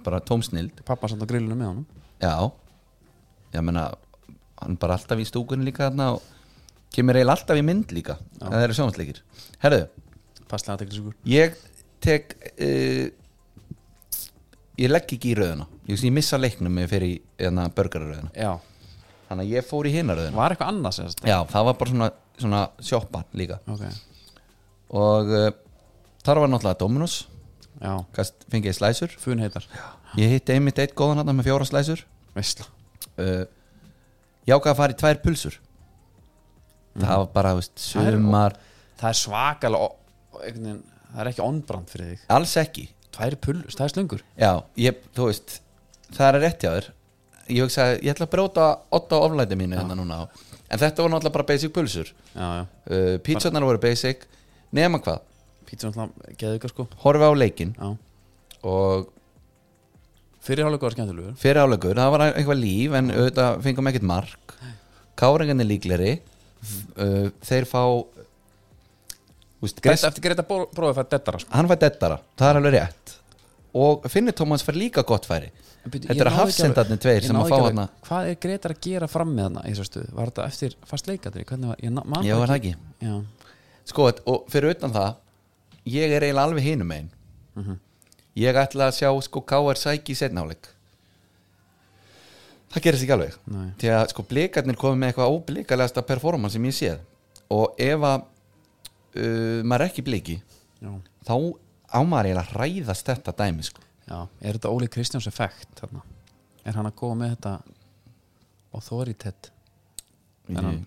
Bara tómsnild pappa samt á grillinu með honum Já Ég meina, hann bara alltaf í stúkunni líka þarna og kemur eiginlega alltaf í mynd líka en það eru sjónsleikir Herðu, fastlega að tekla sigur ég tek uh, ég legg ekki í röðuna ég, ég missa leiknum með fyrir hérna, börgararöðuna já, þannig að ég fór í hinaröðuna var eitthvað annars eða þetta Já, það var bara svona, svona sjoppa líka ok, og uh, þar var náttúrulega Dominos já, Gast, fengið ég slæsur fun heitar ég hitti einmitt eitt góðan hann með fjóra slæsur veistla, uh, ég ákvað að fara í tvær pulsur það var bara þú veist, Það er- sumar, það er svakalega og- einhvern veginn, það er ekki onbrand fyrir þig alls ekki tvær pullur, það er slöngur já, ég, þú veist það er rétt hjá þér ég hugsaði, ég ætla að bróta 8 á oflæti mínu hérna núna en þetta var náttúrulega bara basic pulsur já, já, uh, pítsunar voru basic nema hvað, pítsa náttúrulega geðu ykkur sko horfa á leikin já, og fyrirhálega góða skemmtilegur fyrir álegur, það var eitthvað líf en auðvitað fengum ekkert mark káringan er líkleri uh, þeir fá úst, Greta, eftir Greta Bó- bróði að fara dettara sko. hann fær dettara, það er alveg rétt og Finnur Tómas fær líka gott færi En byrju, Þetta ég náði ekki eru alveg- hafsendarnir tveir ég sem náði að fá ekki alveg- hana hvað er Greta að gera fram með hana í þessu stöðu, var þetta eftir fast leikatri hvernig var, ég na- man Já, það var það ekki já, Sko, og fyrir utan það ég er eiginlega alveg hinum einn Mhm. ég ætla að sjá sko K.R. Sæki í setnáleik það gerist ekki alveg Nei. því að sko blikarnir komið með eitthvað óblikalegasta performance sem ég séð og ef að uh, maður er ekki bliki já, þá á maður eiginlega að ræðast þetta dæmi sko. já, er þetta Óli Kristjáns effekt þarna, er hann að koma með þetta authoritet En hann-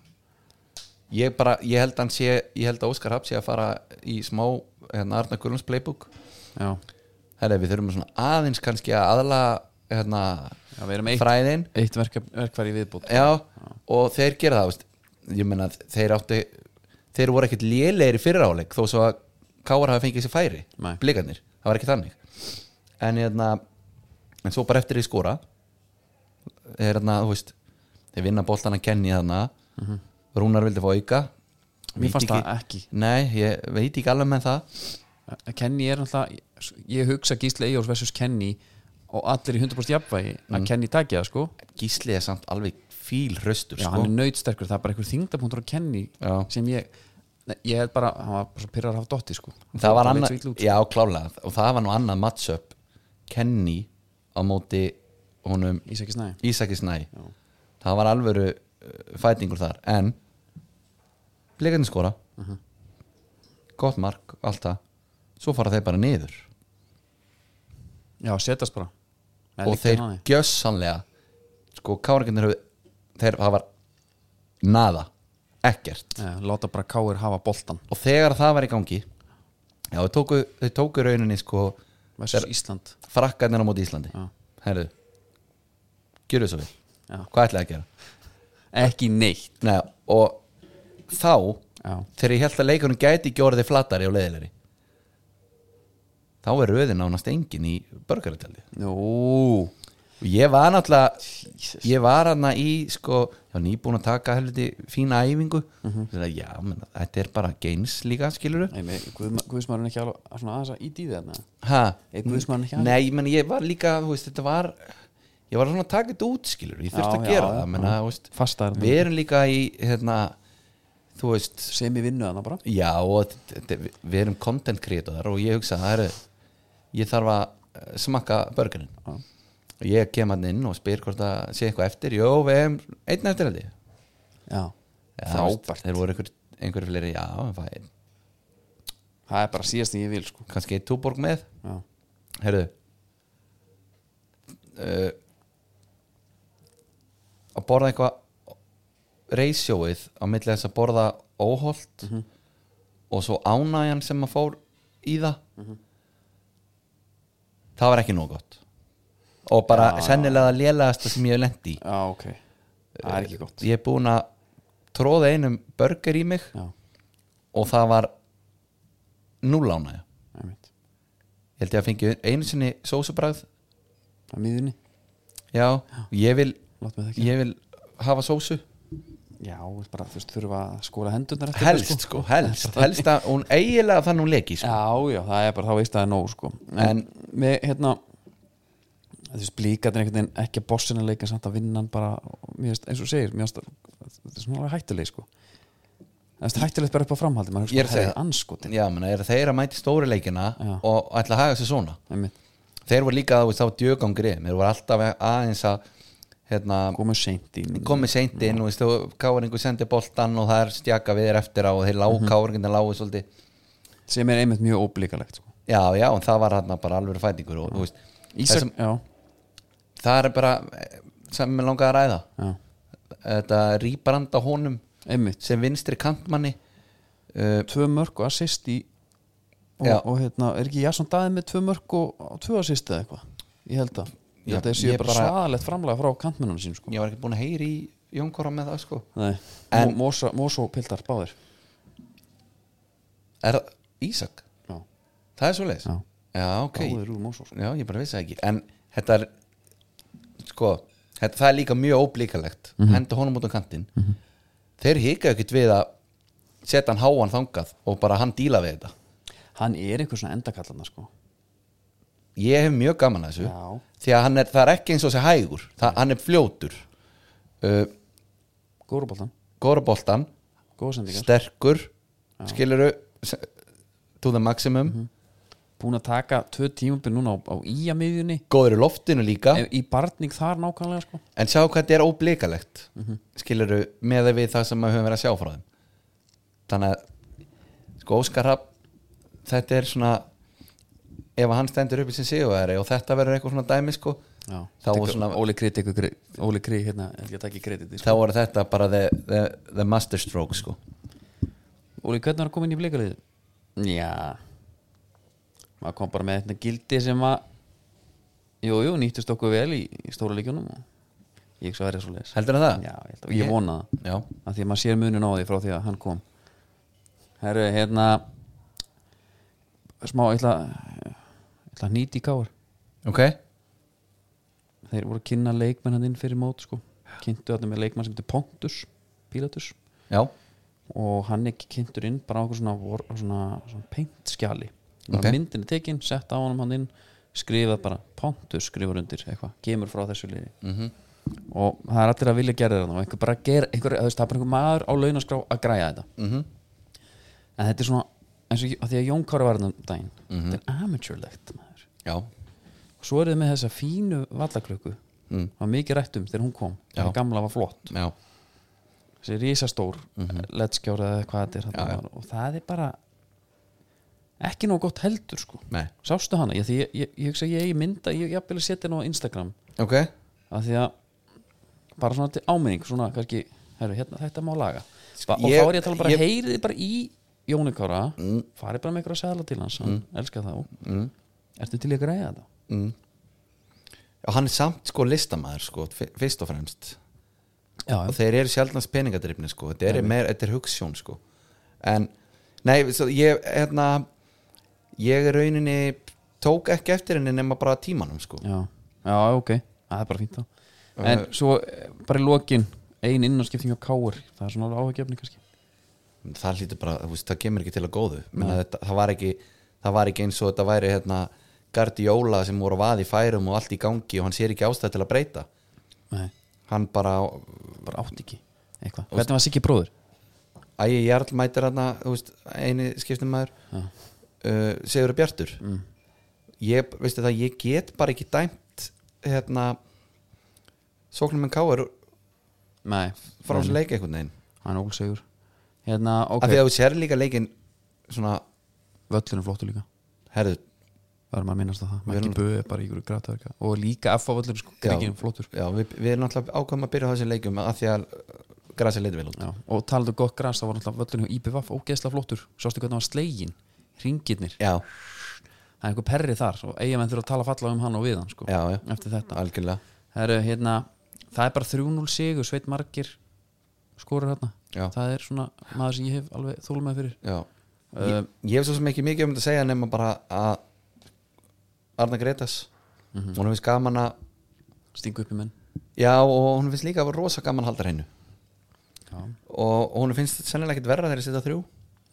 ég bara, ég held að hann sé ég held að Óskar Hafn sé að fara í smá hérna Arna Gullums playbook já, Herra, við þurfum svona aðeins kannski að aðla hérna, já, við erum eitt, fræðin eitt verk, verkfæri í viðbútt já, og þeir gera það veist. ég meina þeir áttu þeir voru ekkert lélegir í fyrra áleik þó svo að Káar hafi fengið sér færi Nei. blikarnir, það var ekki þannig en, hérna, en svo bara eftir því skora er þarna, þú veist þeir vinna boltan að kenni þarna Rúnar vildi fá auka Mhm. Mér Veit fannst það ekki Nei, ég veit ekki alveg með það Kenny er náttúrulega Ég hugsa Gísli Eyjóls versus Kenny og allir í 100% jafnvægi Mm. að Kenny takja það sko Gísli er samt alveg fíl hraustur Já, sko. hann er nöytsterkur, það er bara einhver þingdapunktur á Kenny Já. sem ég Nei, ég held bara, hann var bara svo pyrrar að hafa dotti sko Það var Hann leit annað, svo illa út. sko. já klálega og það var nú annað matchup Kenny á móti honum Ísaki Snæ Ísaki Snæ það var alvöru uh, fætingur þar en blikarnir skora gott mark, allt það svo fara þeir bara niður Já, setast bara Nei, og líka þeir hann aðeins. gjössanlega sko káringarnir höfðu þeir, það var nada ekkert Já, Láta bara Káir hafa boltan og þegar það var í gangi já, þau tóku, þau tóku rauninni sko versus Ísland frakkarnir á móti Íslandi Já. herðu, gjöru svo vel Já. hvað ætlaði að gera? Ekki neitt Nei, og þá Já, þegar ég held að leikunum gæti ekki orðið flatari og leiðilegri þá er röðin nánast engin í börgaratjaldi nú og ég var náttúrulega ég var hana í sko já, nýbúin að taka helviti fína æfingu mm Mhm. -hmm. já, menna, þetta er bara geins líka skilur Nei, með Guðma- Guðsmaðurinn ekki alveg svona aðeins að íti í þarna ha? Er Guðsmaðurinn ekki nei, menn, ég var líka þú veist, þetta var ég var svona að taka þetta út skilur ég þurfti Já, að já, gera já, Mm. það menna, þú veist, Fastar við erum líka í hérna, þú veist sem í vinnu þarna bara Já og þetta- við við erum content creator og ég hugsa það eru ég þarf að eh, smakka börgarinn Já. og ég kem hann inn og spyr hvort það sé eitthvað eftir Jó, við erum einn eftir held ég Já, Já, frábært veist, Þeir voru einhver, einhver fleiri, já, en fæ, Það er bara síðast en ég vil sko kannski eitt túborg með Já, Herðu uh, að borða eitthvað reisjóið á milli þess að borða óholt Mhm. og svo ánægjan sem að fór í það Mhm. það var ekki nóg gott og bara sennilega lélegasta sem ég hef lent í já ok Það er ekki gott ég er búin að tróða einum burger í mig Já, og það var núl ánægja einmitt ég held ég að fengi einu sinni sósubræð Það er miðunni, Já, ég vil látt með það ekki ég vil hafa sósu Já, við bara þú veist þurfa að skóla hendunar eftir þetta, helst sko, helst, helst að hún eiginlega þannig hún leki sko. Já, já, það er bara þá veist að það er nóg sko En með hérna Þú veist blíkat er einhvern veginn ekki að bossinu leika samt að vinna hann bara mér veist, eins og þú segir, mér veist þetta er svona alveg hættuleg sko Það er hættulegt bara upp á framhaldi maður Ég er að segja- anskotin Já, menna, er þeir að mæti stóri leikina Já. og ætla að haga sér svona einmitt, þeir voru líka þá, þá djögangri þeir voru alltaf aðeins að hérna, komið seint í komið seint inn og veist, þú, káringu sendi boltan og það er stjaka við þér eftir á og þeir Mhm. lág mm -hmm. káringin lágu svolítið sem er einmitt mjög óblíkalegt sko. Já, já, en það var hérna bara alveg fætingur og, þú veist, Ísak, þessum- já, það er bara eh, sem mér langaði að ræða já, þetta rýbranda honum einmitt sem vinstri kantmanni uh, tvö mörg og assist í og, Já. og hérna, er ekki Jasson Daði með tvö mörg og, og tvö assist eða eitthvað ég held að, ég Já, held að þessi ég er bara, bara- bara svaðalegt framlega frá kantmennunum sín sko. ég var ekki búin að heyri í Jónkora með það sko Nei, En- en, Mosa, Mosó pildar báðir er það Ísak? já, það er svo leiðis? Já. já, ok báðir úr Mosó sko. já, ég bara vissi það ekki en þetta er sko, þetta, það er líka mjög óblíkalegt Mhm. henda honum út á kantinn þeir hikaðu ekkert við að setja hann háan þangað og bara hann díla við þetta hann er einhver svona endakallana sko. ég hef mjög gaman að þessu Já. því að hann er, það er ekki eins og þessi hægur það, hann er fljótur uh, góruboltan, góra boltan góða sendingar sterkur skiluru to the maximum Mhm. búin að taka tvö tímumbyr núna á, á íja miðjunni góður í loftinu líka í barning þar nákvæmlega sko. en sjá hvað þetta er óblikalegt mm -hmm. skiluru með við það sem við höfum verið að sjá frá þeim þannig að sko Óskar Rapp þetta er svona ef hann stendur upp í sin sigurveri og þetta verður eitthvað svona dæmi sko já, Þá var Tekur- svona- Óli Kri tekur kre- Óli Kri hérna, held ég að taka krediti þá voru þetta bara the, the, the master stroke sko Óli, hvernig var að koma inn í bleikalið? Já maður kom bara með þetta gildi sem að jú, jú, nýttist okkur vel í, í stóra leikjunum og ég ekki svo verið svo leis Já, heldur það? ég, held að- ég vona það já, að því að maður sér munin á því frá því að hann kom Herru, hérna smá, ég ætla ég ætla að nýti í káar ok Þeir þeir voru að kynna leikmenn hann inn fyrir mót sko. kynntu þetta með leikmann sem heitir Pontus Pilatus já, og hann ekki kynntur inn bara á okkur svona, vor- svona, svona paintskjali bara Ok. okay. myndin er tekin, sett á honum hann inn skrifað bara Pontus skrifar undir eitthvað, kemur frá þessu liði Mhm. og það er allir að vilja gera þetta og einhver bara gera, einhver, þú veist, það er bara einhver maður á launaskrá að græja þetta mhm, en þetta er svona, eins og að því að Jón Kári var þetta um daginn, Mhm. þetta er amateurlegt maður já og svo eruð með þessa fínu vallaklöku Mm. var mikið rætt um þegar hún kom Já. það gamla var flott, já, þessi risastór mm -hmm. lettskjóra eða hvað þetta er þarna Já, já. var. og það er bara ekki nóg gott heldur sko nei, sástu hana, ég, því ég, ég, ég hugsa að ég eigi mynda ég jafnvel að setja henni á Instagram ok af því að bara svona til áminning, svona kannski herru, hérna, þetta má laga ba og Ég- þá er Sko, ég að tala um bara, ég- ég... heyriði bara í Jónikára, mm. farið bara með einhverja sæðla til hans, hann elskar þá mm. ertu til í að græja þetta? og hann er samt sko listamaður sko, fi- fyrst og fremst Já, já. og þeir eru sjálfnast peningadrifni sko. þetta er, meir, þetta er hugssjón sko. en nei, svo, ég hérna, ég í rauninni tók ekki eftir henni nema bara tímanum sko. já, já, ok það er bara fínt þá en svo eh, bara í lokin ein innanskipting á káur, það er svona alveg áhugjefni kannski það hlýtur bara, þú veist, það kemur ekki til að góðu Menna, þetta, það, var ekki, það var ekki eins og þetta væri hérna, Gardióla sem voru að vaði færum og allt í gangi og hann sér ekki ástæð til að breyta Nei, hann bara, bara átt ekki eitthvað, hvernig var Siggi bróður? ægi Jarl mætir hann eini skiptum maður uh, Sigur Bjartur Mm. ég, veistu það, ég get bara ekki dæmt hérna sóknum en káur Nei, frá þessu leik einhvern veginn hann er ólsegur hérna, af því ok, að þú sér líka leikin svona, völlunum flottu líka herðu, það er maður að minnast á það, Við maður erum- ekki böði bara í ykkur grátaverka og líka FA völlunum sko, Já. gríkinum flottur já, við, við erum náttúrulega ákvæm að byrja á þessu leikum af því að grasa leiti vel út já. og talaðu gott græs, það var alltaf völlunum í IPVF ógeðslega flottur, sástu hvernig hann var slegin ringirnir, já, það er einhver perri þar og eigamenn þurfa að tala fallega um hann og við hann sko, já, já, eftir þetta algjörlega Heru, hérna, það er bara 3-0 sigur Sveit Margir skorur hérna Já. það er svona maður sem ég hef alveg þólum með fyrir já. uh, ég, ég hef svo sem ekki mikið um þetta að segja nema bara að Arna Gretas Mhm. hún finnst gaman að stingu upp í menn já og hún finnst líka að rosa gaman að halda hennu Já. og, og hún finnst sennilega ekkit verra þegar ég setja þrjú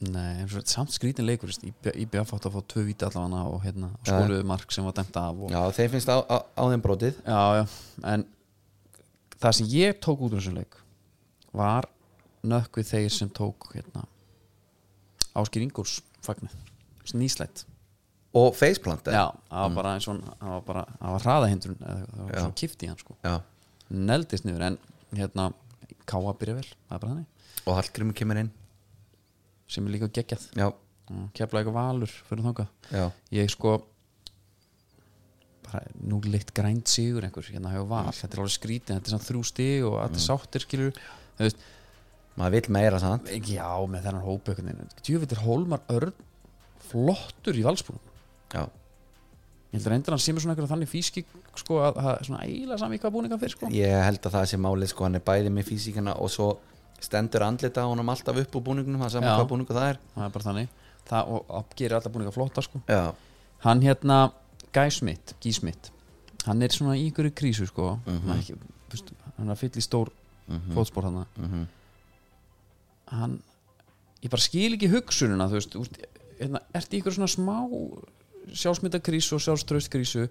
Nei, en svo samt skrítin leikur veist, IB- IBF átt að fá tvö víti allavega og hérna, skoruðu mark sem var dæmt af og, já þeir finnst á, á, á þeim brotið já, já, en það sem ég tók út úr þessum leik var nökkvið þeir sem tók hérna, Áskir Ingúls fagnir, nýslætt og faceplant eða? Já, það Mm. var bara eins og hann- það var bara, það var hraðahindrun eða það var svona kift í hann sko já. neldist niður en hérna Káa byrja vel, það er bara þannig og Hallgrimur kemur inn sem er líka geggjað já, kefla eitthvað valur fyrir þangað já, ég sko bara nú leitt grænt sigur einhver hérna hefur val, þetta er alveg skrítið þetta er svona þrjú stig og allir sáttir skilur þú veist, maður vill meira sann já með þennan hópa djúfitt er Hólmar Örn flottur í valsbúrum já, ég heldur endur hann sem er svona einhverja þannig físki sko að það er svona eila sami hvað búningan fyrir sko ég held að það sé málið sko hann er bæði með físíkana og svo stendur andlita honum alltaf upp úr búningunum það saman Já. hvað búningu það er það er bara þannig það og, og gerir alla búninga flotta sko já, hann hérna Guy Smith, Guy Smith hann er svona í einhverju krísu sko hann, er ekki, þú veist, hann er að fylla í stór mm fótspor hann Mhm. mhm. hann ég bara skil ekki hugsununa þú veist, úst, hérna, ertu í einhverju svona smá sjálfsmyndakrísu og sjálfströstkrísu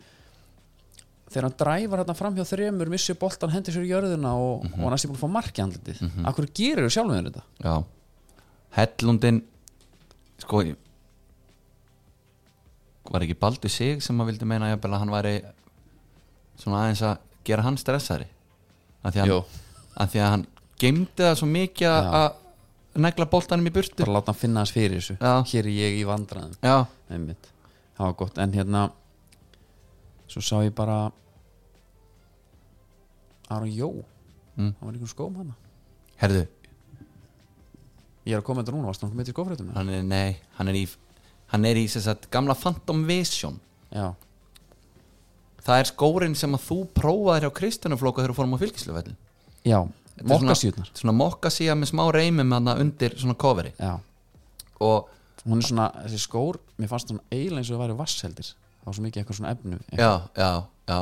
þegar hann dræfar hérna fram hjá þremur missir boltan, hendur sér í jörðina og, Mhm. og hann er sér búin að fá marki andlitið mm -hmm. akkur gerir þú sjálfum þér þetta? Já Hellundin Sko ég- Var ekki Baldur Sig sem að vildi meina jafnvel að hann væri Svona aðeins að gera hann stressari Af því að, Jú. hann- af því að hann Geimdi það svo mikið að- að Negla boltanum í burtu bara láta hann finna hans fyrir þessu Já. hér er ég í vandræðum Já, einmitt, það var gott en hérna svo sá ég bara Aron Jó Mm. hann var einhvern skóm hana herðu ég er að koma þetta núna, varstu hann komið til skófréttum Hann er, nei, hann er í Hann er í sem sagt gamla Phantom Vision já, Það er skórin sem að þú prófaðir á Kristjánuflóka þegar þú fórum á fylgislufellin já, Þetta er svona- mokkasjútnar Svona mokkasíja með smá reymum hann undir svona coveri já, og hún er svona, þessi skór mér fannst hún eiginlega eins og það væri vassheldir það var svo mikið eitthvað svona efnu já, já, já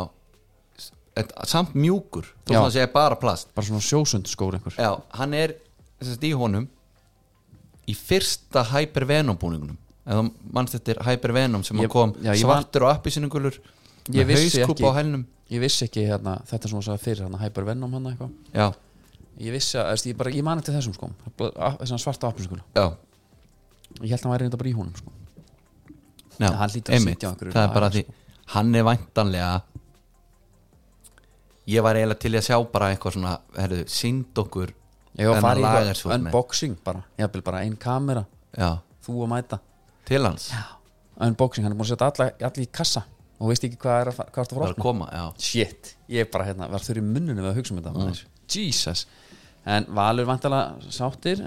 en samt mjúkur þó Já. svona sé bara plast bara svona sjósund skór einhver Já, hann er þess að í honum í fyrsta Hypervenom búningunum eða mannst þetta er Hypervenom sem Ég- hann kom já, ég var- svartur og appisinungulur Ég með vissi hauskúpa ekki. á hælnum ég vissi ekki hérna, þetta sem hún sagði fyrir hérna Hypervenom hann eitthvað já, ég vissi að, veist, ég, bara, ég mani til þessum sko þessan svarta appinskulega já, ég held að hann væri reynda bara í honum sko. já, En hann hlýtur að einmitt, sitja á einhverju sko. það lagi, er bara því hann er væntanlega ég var eiginlega til í að sjá bara eitthvað svona, herðu, synd okkur ég var þennan að fara í lagarsvörn eitthvað með. unboxing bara ég hafði bara ein kamera, já, þú að mæta til hans unboxing, hann er búin að setja alla, alla í kassa og veist ekki hvað er að, fa- hvað er að það fara er að koma, já, shit, ég er bara hérna var þurr í munnunum við að hugsa um þetta mm. Jesus, en Valur vantalega sáttir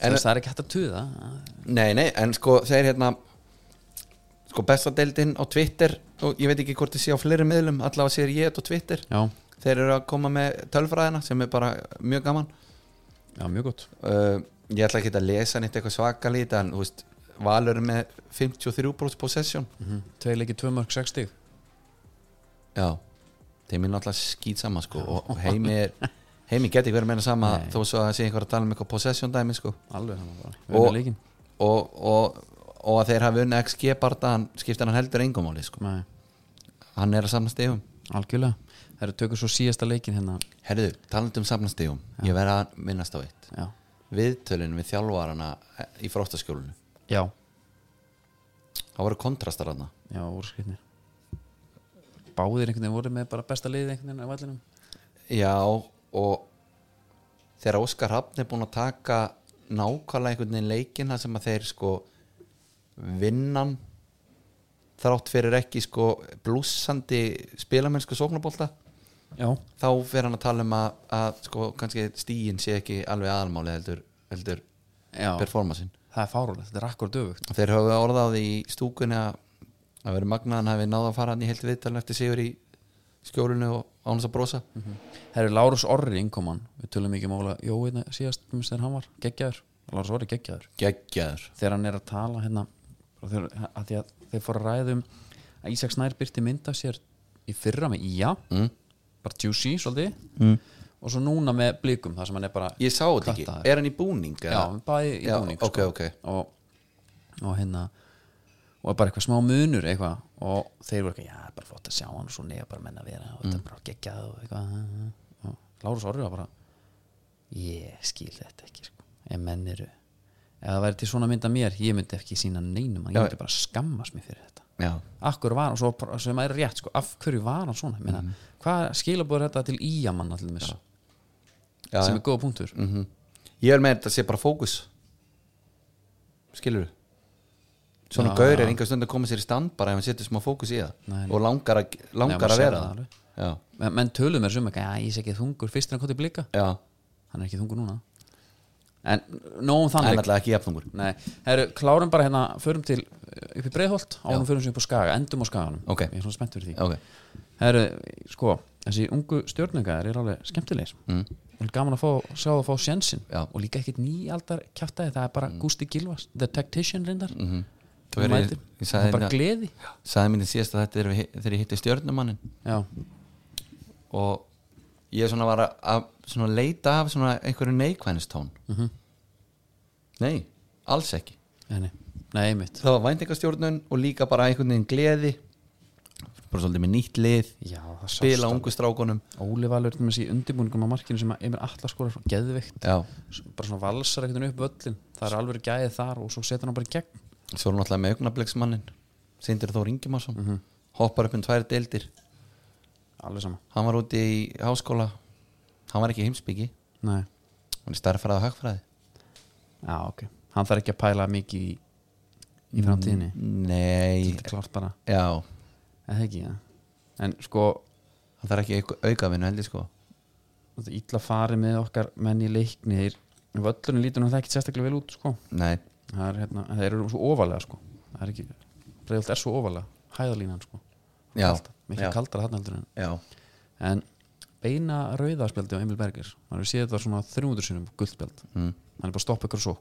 þess það er ekki hægt að tuða nei, nei, en sko þeir hérna sko bestadeildin á Twitter og ég veit ekki hvort þið sé á fleiri miðlum allavega sér ég þetta á Twitter já, þeir eru að koma með tölfræðina sem er bara mjög gaman já, mjög gott uh, ég ætla ekki að lesa neitt eitthvað svakalít en þú veist, Valur er með 53% possession mm -hmm. tvei leikir, tvö mörg, sex stig já, þeim er náttúrulega skýt sama sko, og og heimi er heimi geti verið meina sama Nei. þó svo að það sé einhver að tala um eitthvað possession dæmi sko. alveg hann var bara Og- Vinna leikinn. og, og, og að þeir hafa unni XG bardaðan skiptar hann heldur engumáli sko. Nei, hann er að samna stegum algjörlega það eru tökur svo síðasta leikin hérna herðu, talandi um samna stegum ég verða að minnast á eitt já, viðtölin við þjálfarana eh, í fróttaskjólinu já, það voru kontrastar hana já úrskriðnir báðir einhvern veginn voru með bara besta liðið einhvern veginn á vallinum Já og þegar Óskar Hafn er búin að taka nákvæmlega einhvern veginn leikinn þar sem að þeir sko vinnan þrátt fyrir ekki sko blúsandi spilamennsku sóknabólta já, þá fer hann að tala um að, að sko kannski stíin sé ekki alveg aðalmáli heldur, heldur já, performansin það er fárúlega, þetta er akkur döfugt þeir hafa orðað í stúkunni að að vera magnaðan hafi náða að fara hann í heilt viðtalin eftir sigur í skjólinu og ánast að brosa það eru Lárus Orri innkoman við tölum ekki um ólega, jó, hérna, síðast um þegar hann var geggjaður, Lárus Orri geggjaður geggjaður þegar hann er að tala hérna og þeir, að því að þeir fóru að ræða um að Ísak Snær byrti mynda sér í fyrra með Ía mm. bara juicy svolítið mm. og svo núna með blikum þar sem hann er bara Ég sá þetta ekki, Kvartaður. er hann í búning? já, eða? bæði í Já, búning ok, ok. og, og hérna og bara eitthvað smá munur eitthvað og þeir voru eitthvað, já, bara flott að sjá hann og svo nega bara menna að vera og Mm. þetta er bara geggjað og eitthvað og Lárus Orri var bara ég skil þetta ekki sko. en menn eru ef það væri til svona mynd að mér, ég myndi ekki sína neinum ég Já. myndi bara skammast mér fyrir þetta Já, akkur var hann, svo, sem er rétt sko, af hverju var hann svona, Mm. meina, hvað skilabóður þetta til íjaman allir mér já, sem já. er góða punktur Mm Ég vil með þetta sé bara fókus Skilur Svona Já. gaur er einhver stund að koma sér í stand bara ef hann setur smá fókus í það Nei, nei. og langar, að, Nei, langar maður að sér vera það það alveg. Já, Men, menn tölum er sem ekki, já ég sé ekki þungur fyrst en hann kom til blika, já, hann er ekki þungur núna en nógum en þannig alltaf ekki jafnungur Nei, herru, klárum bara hérna, förum til uh, upp í Breiðholt, ánum förum sem upp á Skaga endum á Skaganum, Ok. ég er svona spennt fyrir því Ok, herru, sko, þessi ungu stjórningar er alveg skemmtilegis mm. og gaman að fá, sjá það að fá sjensin Já. Mm. og líka ekkit nýaldar kjáttæði, það er bara Gústi Gilvas, the tactician reyndar mm -hmm. Þú verður- ég sagði hérna- bara þér- gleði sagði mínu síðast að þetta er við- þegar ég hitti stjörnumannin já, og ég svona var að, að svona leita af svona einhverju neikvænistón Mhm. Nei, alls ekki nei, nei, einmitt það var væntingastjórnun og líka bara einhvern veginn gleði bara svolítið með nýtt lið já, það sást spila alveg. ungu strákunum Óli Valur til með þessi undirbúningum á markinu sem að Emil Atla skorar frá geðvikt já. bara svona valsar ekkert upp völlin það er alveg gæðið þar og svo setur hann bara í gegn svo er náttúrulega með augnablegsmannin Sindir Þór Ingimarsson hoppar upp um tvær deildir alveg sama hann var úti í háskóla hann var ekki í heimsbyggi Nei. hann er starffræði og hagfræði já ok, hann þarf ekki að pæla mikið í, í framtíðinni Mm. nei, þetta er klart bara, já eða ekki ja. en sko, hann þarf ekki auka, auka vinnu heldur sko þetta er illa farið með okkar menn í leikni þeir, völlurinn lítur hann það ekki sérstaklega vel út sko. nei, það er hérna, þeir eru svo ofalega sko. það er ekki, breyðult er svo ofalega hæðalínan sko, já, mikið já, kaldara þarna heldur en já. en beina rauðarspjaldi á Emil Berger maður hefur séð þetta svona 300 sinum guldspjald Mm. hann er bara að stoppa ykkur svo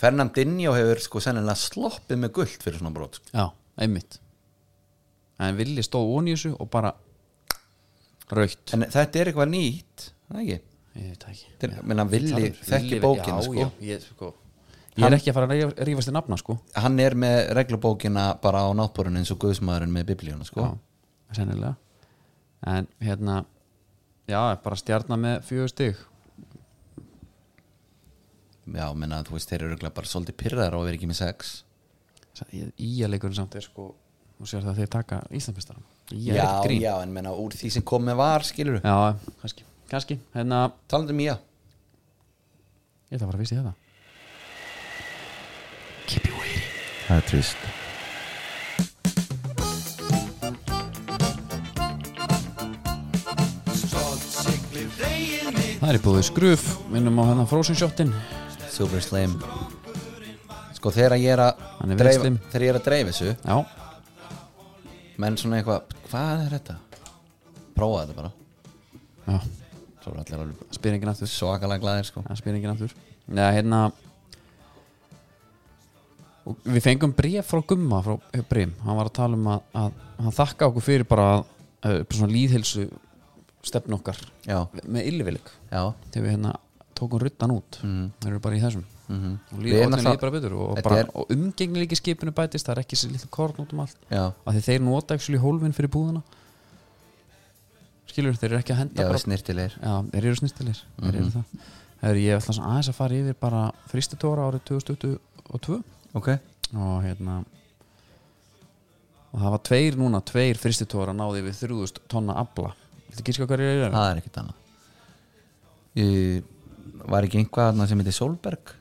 Fernandinho hefur sko sennilega sloppið með guld fyrir svona brot sko. já, einmitt en Villi stóð ón í þessu og bara Raukt en þetta er eitthvað nýtt það ekki Ég veit það ekki um Til- meina, Villi Villi- þekkir bókina, já, sko. já, ég, sko Ég er ekki að fara að rífa- rífast í nafna sko hann er með reglubókina bara á náttbórun eins og guðsmaðurinn með biblíuna sko. Já, sennilega En hérna Já, bara stjarnar með fjögur stig já, menna þú veist, þeir eru örugglega bara svolítið pyrraðar á að vera ekki með sex Íaleikurinn samt er sko Þú sér það að þeir taka Íslandsmestaran Ía er ekkert grín já, en menna úr því sem kom með var skilur við, Já, kannski, kannski Hérna, talandi um já ég ætla að fara að vísa í þetta það er trist Það er í búið skruf, minnum á hennar Frozen Shotin super slim sko þegar ég er að Hann er vel dreifa, slim. þegar ég er að dreifa þessu Já, menn svona eitthvað, hvað er þetta prófa þetta bara já, svo er allir alveg spyr enginn aftur svakalega glæðir sko Það spyr enginn aftur Nei, hérna og Við fengum bréf frá Gumma frá eh, Brim, hann var að tala um að, að hann þakka okkur fyrir bara uh, svona líðhilsu stefnu okkar já, með illvilik já þegar við hérna tókum ruttan út Mhm. þeir eru bara í þessum mm og Við líður erum orðin náttúrulega- líður bara betur og, Þetta bara, er- og umgengilegi skipinu bætist það er ekki sér lítið korn út um allt já, að þeir nota ekki hólfin fyrir búðana skilur þeir eru ekki að henda já bara snirtilegir Já, þeir eru snirtilir Þeir Mhm. eru það Þegar ég ætla svona aðeins að fara yfir bara fristitóra árið 2022 ok, og hérna og það var tveir núna, tveir fristitóra náði við 3000 tonna afla Þetta gíska hverju er það? það er ekkert annað uh, var ekki einhvað þarna sem heitir Solberg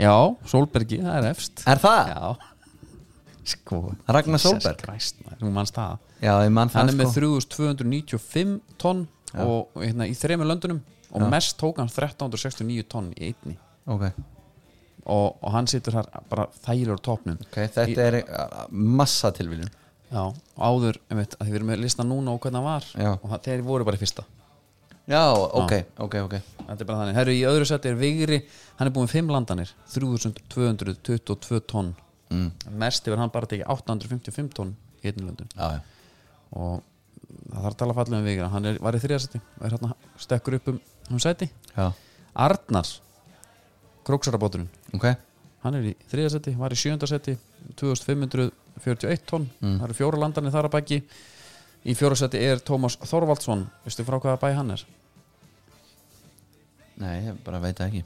Já, Solbergi, það er efst er það? Já Sko Ragnar Jesus Solberg. Christ, maður, Þú mannst það já, ég mann Hann það er sko með 3295 tonn og og hérna, í þremur löndunum og Já. mest tók hann 1369 tonn í einni ok, og, og hann situr þar bara þægilegur á topnum ok, þetta Í- er uh, massa tilviljun Já, og áður, einmitt, að því við erum með listan núna og hvernig hann var Já. og það, þeir voru bara í fyrsta já, ok, ok, ok Þetta er bara þannig, herru, í öðru sett er Vigri hann er búin með fimm landanir 3222 tonn mm. mest hefur hann bara tekið 855 tonn í einnig löndum já, já, og það þarf að tala fallega um Vigri hann er, var í þriða seti og er hann stekkur upp um, um seti já, Arnar, króksarabóturinn ok hann er í þriða seti, var í sjönda seti 2541 tonn Mm. það eru fjóra landanir þar að baki í fjóra seti er Tómas Þorvaldsson veistu frá hvaða bæ hann er? nei, ég bara veit það ekki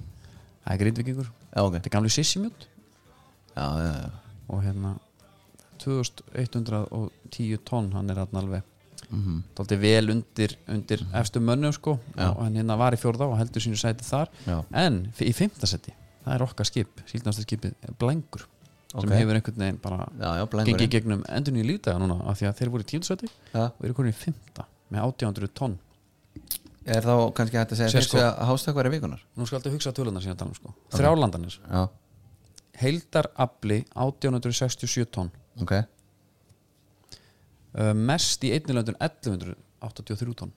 Það er grindvikingur, já, ok, þetta er gamli sissimjöld já, já, já og hérna 2110 tonn hann er hann alveg mm Dálítið vel undir, undir efstu mönnum sko Já. og hann hérna var í fjórða og heldur sínu sæti þar já, en f- í fimmta seti, það er okkar skip síldnastaskipið Blængur sem Ok. hefur einhvern veginn bara já, já, gengið í blengurinn gegnum endur nýju lífdaga núna af því að þeir voru í tíundsæti já. og eru konið í fymta með 800 tonn er þá kannski hægt að segja Sér fyrst sko- að hástökkvar er vikunar nú skal þetta hugsa tölunar sína talum sko þrjálandanir, já, heildar afli 867 tonn ok, uh, mest í einni löndun 1183 tonn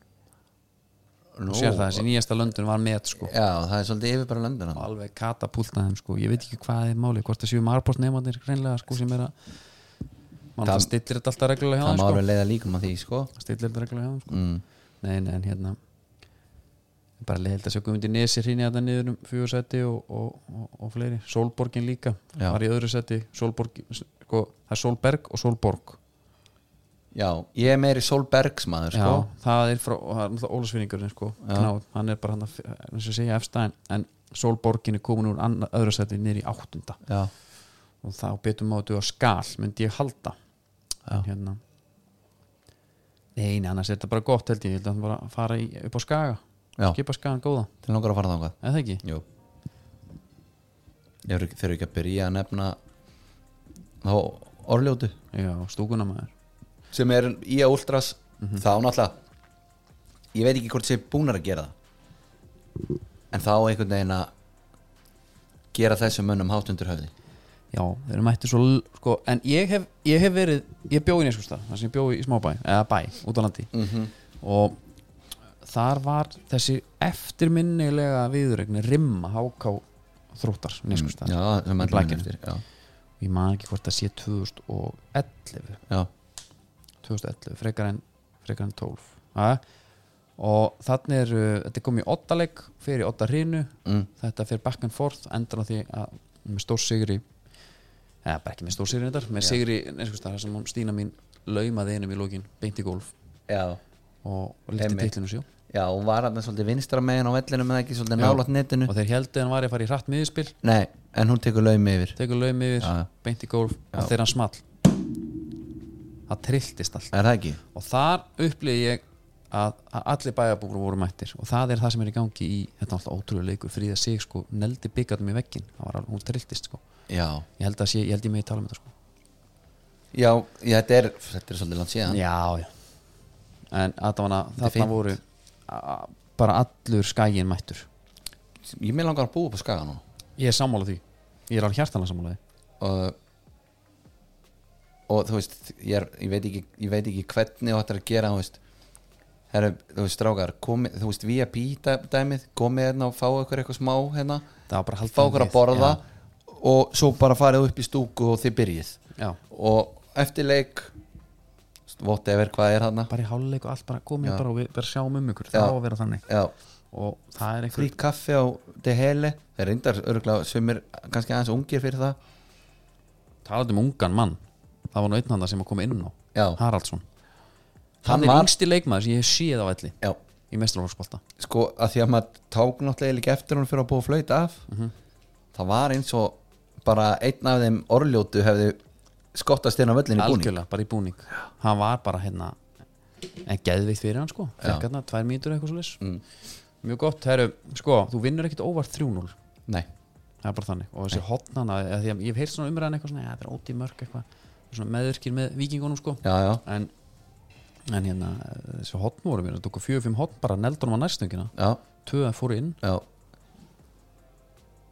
nú og sér það þessi nýjasta löndun var með sko já, það er svolítið yfir bara löndina og alveg katapultna þeim sko ég veit ekki hvað er máli, hvort það séu margpost nefnarnir hreinlega sko sem er að mann Það- það stillir þetta alltaf reglulega hjá það má þeim sko alveg leiða líkum að því, sko stillir þetta reglulega hjá þeim sko mm. Nei, nei, en hérna bara leiðilt að sjá Guðmundi Nesi hrinja þetta niður um fjögur seti og, og, og, og fleiri, Solborgin líka Já. var í öðru seti, Solborg sko, það er Solberg og Solborg já, ég er meiri Solbergsmaður, sko það er frá, og það er náttúrulega Ólasvinningurinn sko, Já. Kná, hann er bara hann að, eins og segja efsta en, en Solborgin er komin úr anna, öðru seti niður í áttunda já, og þá betum áttu á skal myndi ég halda Já. en hérna nei, nei, annars er þetta bara gott held ég, ég held að hann bara fara í, upp á skaga, já, skipa skagan góða til langar að fara þangað eða ekki? jú Ég eru- þeir eru ekki að byrja að nefna þá orðljótu Já, stúkuna maður sem er í að últras Mhm. þá náttúrulega ég veit ekki hvort sé búnar að gera það en þá einhvern veginn að gera þessum mönnum hátt undir höfði Já, þeir eru mættir svo l- sko, En ég hef, ég hef verið, ég bjó í Neskústa þar sem ég bjó í smábæ, eða bæ, út á landi -hmm. og þar var þessi eftirminnilega viðuregni rimma háká þróttar Neskústa Mm, já, sem Í allir blakinu. munum eftir já, Ég man ekki hvort það sé 2011 já, 2011, frekar en, frekar en 12 ha? og þannig er, þetta er komið í ottaleg fyrir otta hrinu, mm. þetta fyrir back and forth, endur á því að með stór sigri eða bara ekki með stór sigri þetta, með sigri eins og það sem hún Stína mín laumaði einum í lókin beint í golf já, og, og lífti Einmitt. teitlinu sjó já, hún var hann svolítið vinstra megin á vellinu með ekki svolítið nálat netinu og þeir heldu að hann var að fara í hratt miðspil nei, en hún tekur laumi yfir tekur laum yfir, Já, já. beint í golf og þegar hann small það trilltist allt er það ekki? og þar upplýði ég að, að allir bæjarbúkur voru mættir og það er það sem er í gangi í þetta er alltaf ótrúlega leikur fríða sig sko, neldi byggarnum í veggin það var alveg, hún trilltist sko já, ég held að sé, ég held ég með í tala um þetta sko já, já þetta, er, þetta er svolítið langt síðan já, já en aðdána, er þarna fínt. voru a- bara allur skægin mættur ég með langar að búa upp á skaga nú ég er sammála því, ég er alveg hjartanlega sammála því og, og þú veist ég, er, ég, veit ekki, ég veit ekki hvernig þetta er að gera þú veist, herru, þú veist strákar komi, þú veist VIP dæ- dæmið komið hérna og fáu ykkur eitthvað smá hérna það var bara að halda fá ykkur að við. borða og svo bara farið upp í stúku og þið byrjið já, já. og eftir leik whatever hvað er þarna bara í háluleik og allt bara komið Já. bara og við bara sjáum um ykkur, Já. það á að vera þannig já, og það er einhver frýtt kaffi á De Hele það er reyndar örgulega sem er kannski aðeins ungir fyrir það talandi um ungan mann það var nú einn handa sem að koma inn á Já. Haraldsson Hann hann er var- yngsti leikmaður sem ég hef séð á ætli já, í mestralóksbolta sko að því að maður tók náttúrulega líka eftir hún fyrir að búa að flauta af Mhm. það var eins og bara einn af þeim orðljótu hefði skottast inn á völlinni búning algjörlega, bara í búning hann var bara hérna en geðveikt fyrir hann sko Já. Mm. Fekk hérna, tvær mínútur eitthvað svo mjög gott, herru, sko, þú vinnur ekkit óvart 3-0 nei, það það er bara þannig og þessi hotnana, eða því að ég hef heyrt svona umræðan eitthvað svona, ja, það er óti mörg eitthvað svona meðurkir með vikingunum sko Já, já. en, en hérna, þessi hotn voru mér það tóku 4-5 hotn bara neldunum á næstöngina já, tvö fóru inn já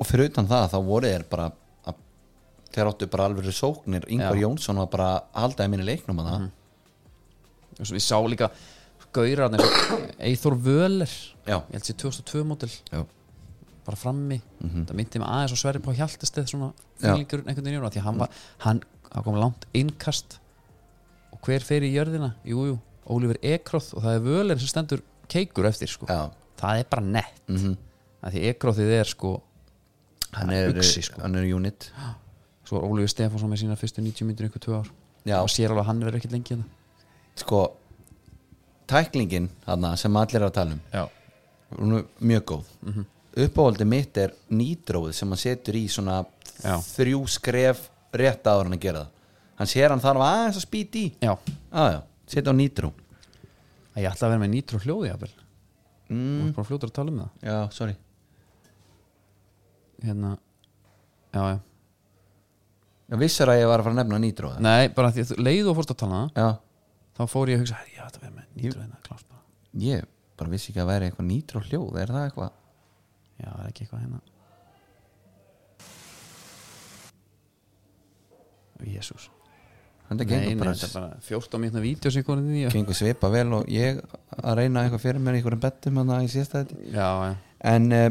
og fyrir utan það þá voru þeir bara að, þeir áttu bara alveg sóknir Ingvar Já. Mhm. Jónsson var bara alltaf minni leiknum að það og svo ég sá líka gaurar Eithor Völer já, ég held sér 2002 mótil já, bara frammi, það myndi mig aðeins og sverri Pá Hjaltesteð svona Mhm. Já. Mhm. fylgurinn einhvern veginn í honum, af því að hann var, hann, hann kom langt innkast og hver fer í jörðina jújú, jú, Ólífur Ekroth og það er Völer sem stendur keikur eftir sko. já. Mhm. það er bara nett mm -hmm. því Ekrothið er sko hann er, uxi, sko. hann er unit svo er Ólífur Stefánsson með sína fyrstu 90 myndir einhver tvö ár Já. og sér alveg að hann verður ekkert lengi hérna. sko tæklingin hana, sem allir er að tala um já. hún er mjög góð mm Mhm. uppáhaldi mitt er nýdróið sem hann setur í svona Já. þrjú skref rétt áður en að gera það hann sér hann þarf aðeins að spýta í já, aðja, setja á nýdró Æ, ég ætla að vera með nýtrú hljóði jafnvel mm. Mhm. og bara fljótur að tala um það já, sorry hérna, já, já ég vissar að ég var að fara að nefna nýdró eða? Nei, bara því að þú- leið og fórst að tala um það já, þá fór ég að hugsa, "Herri, ég ætla að vera með nýtrú hérna, klárt bara ég bara vissi ekki að væri eitthvað nýdró hljóð er það eitthvað Já, það er ekki eitthvað hérna Jésús þetta Nei, gengur nei, bara þetta er bara 14 mínutna vídeo sem konið því gengur svipa vel og ég að reyna eitthvað fyrir mér í einhverjum bettum hann að ég sést þetta Já, já, en uh,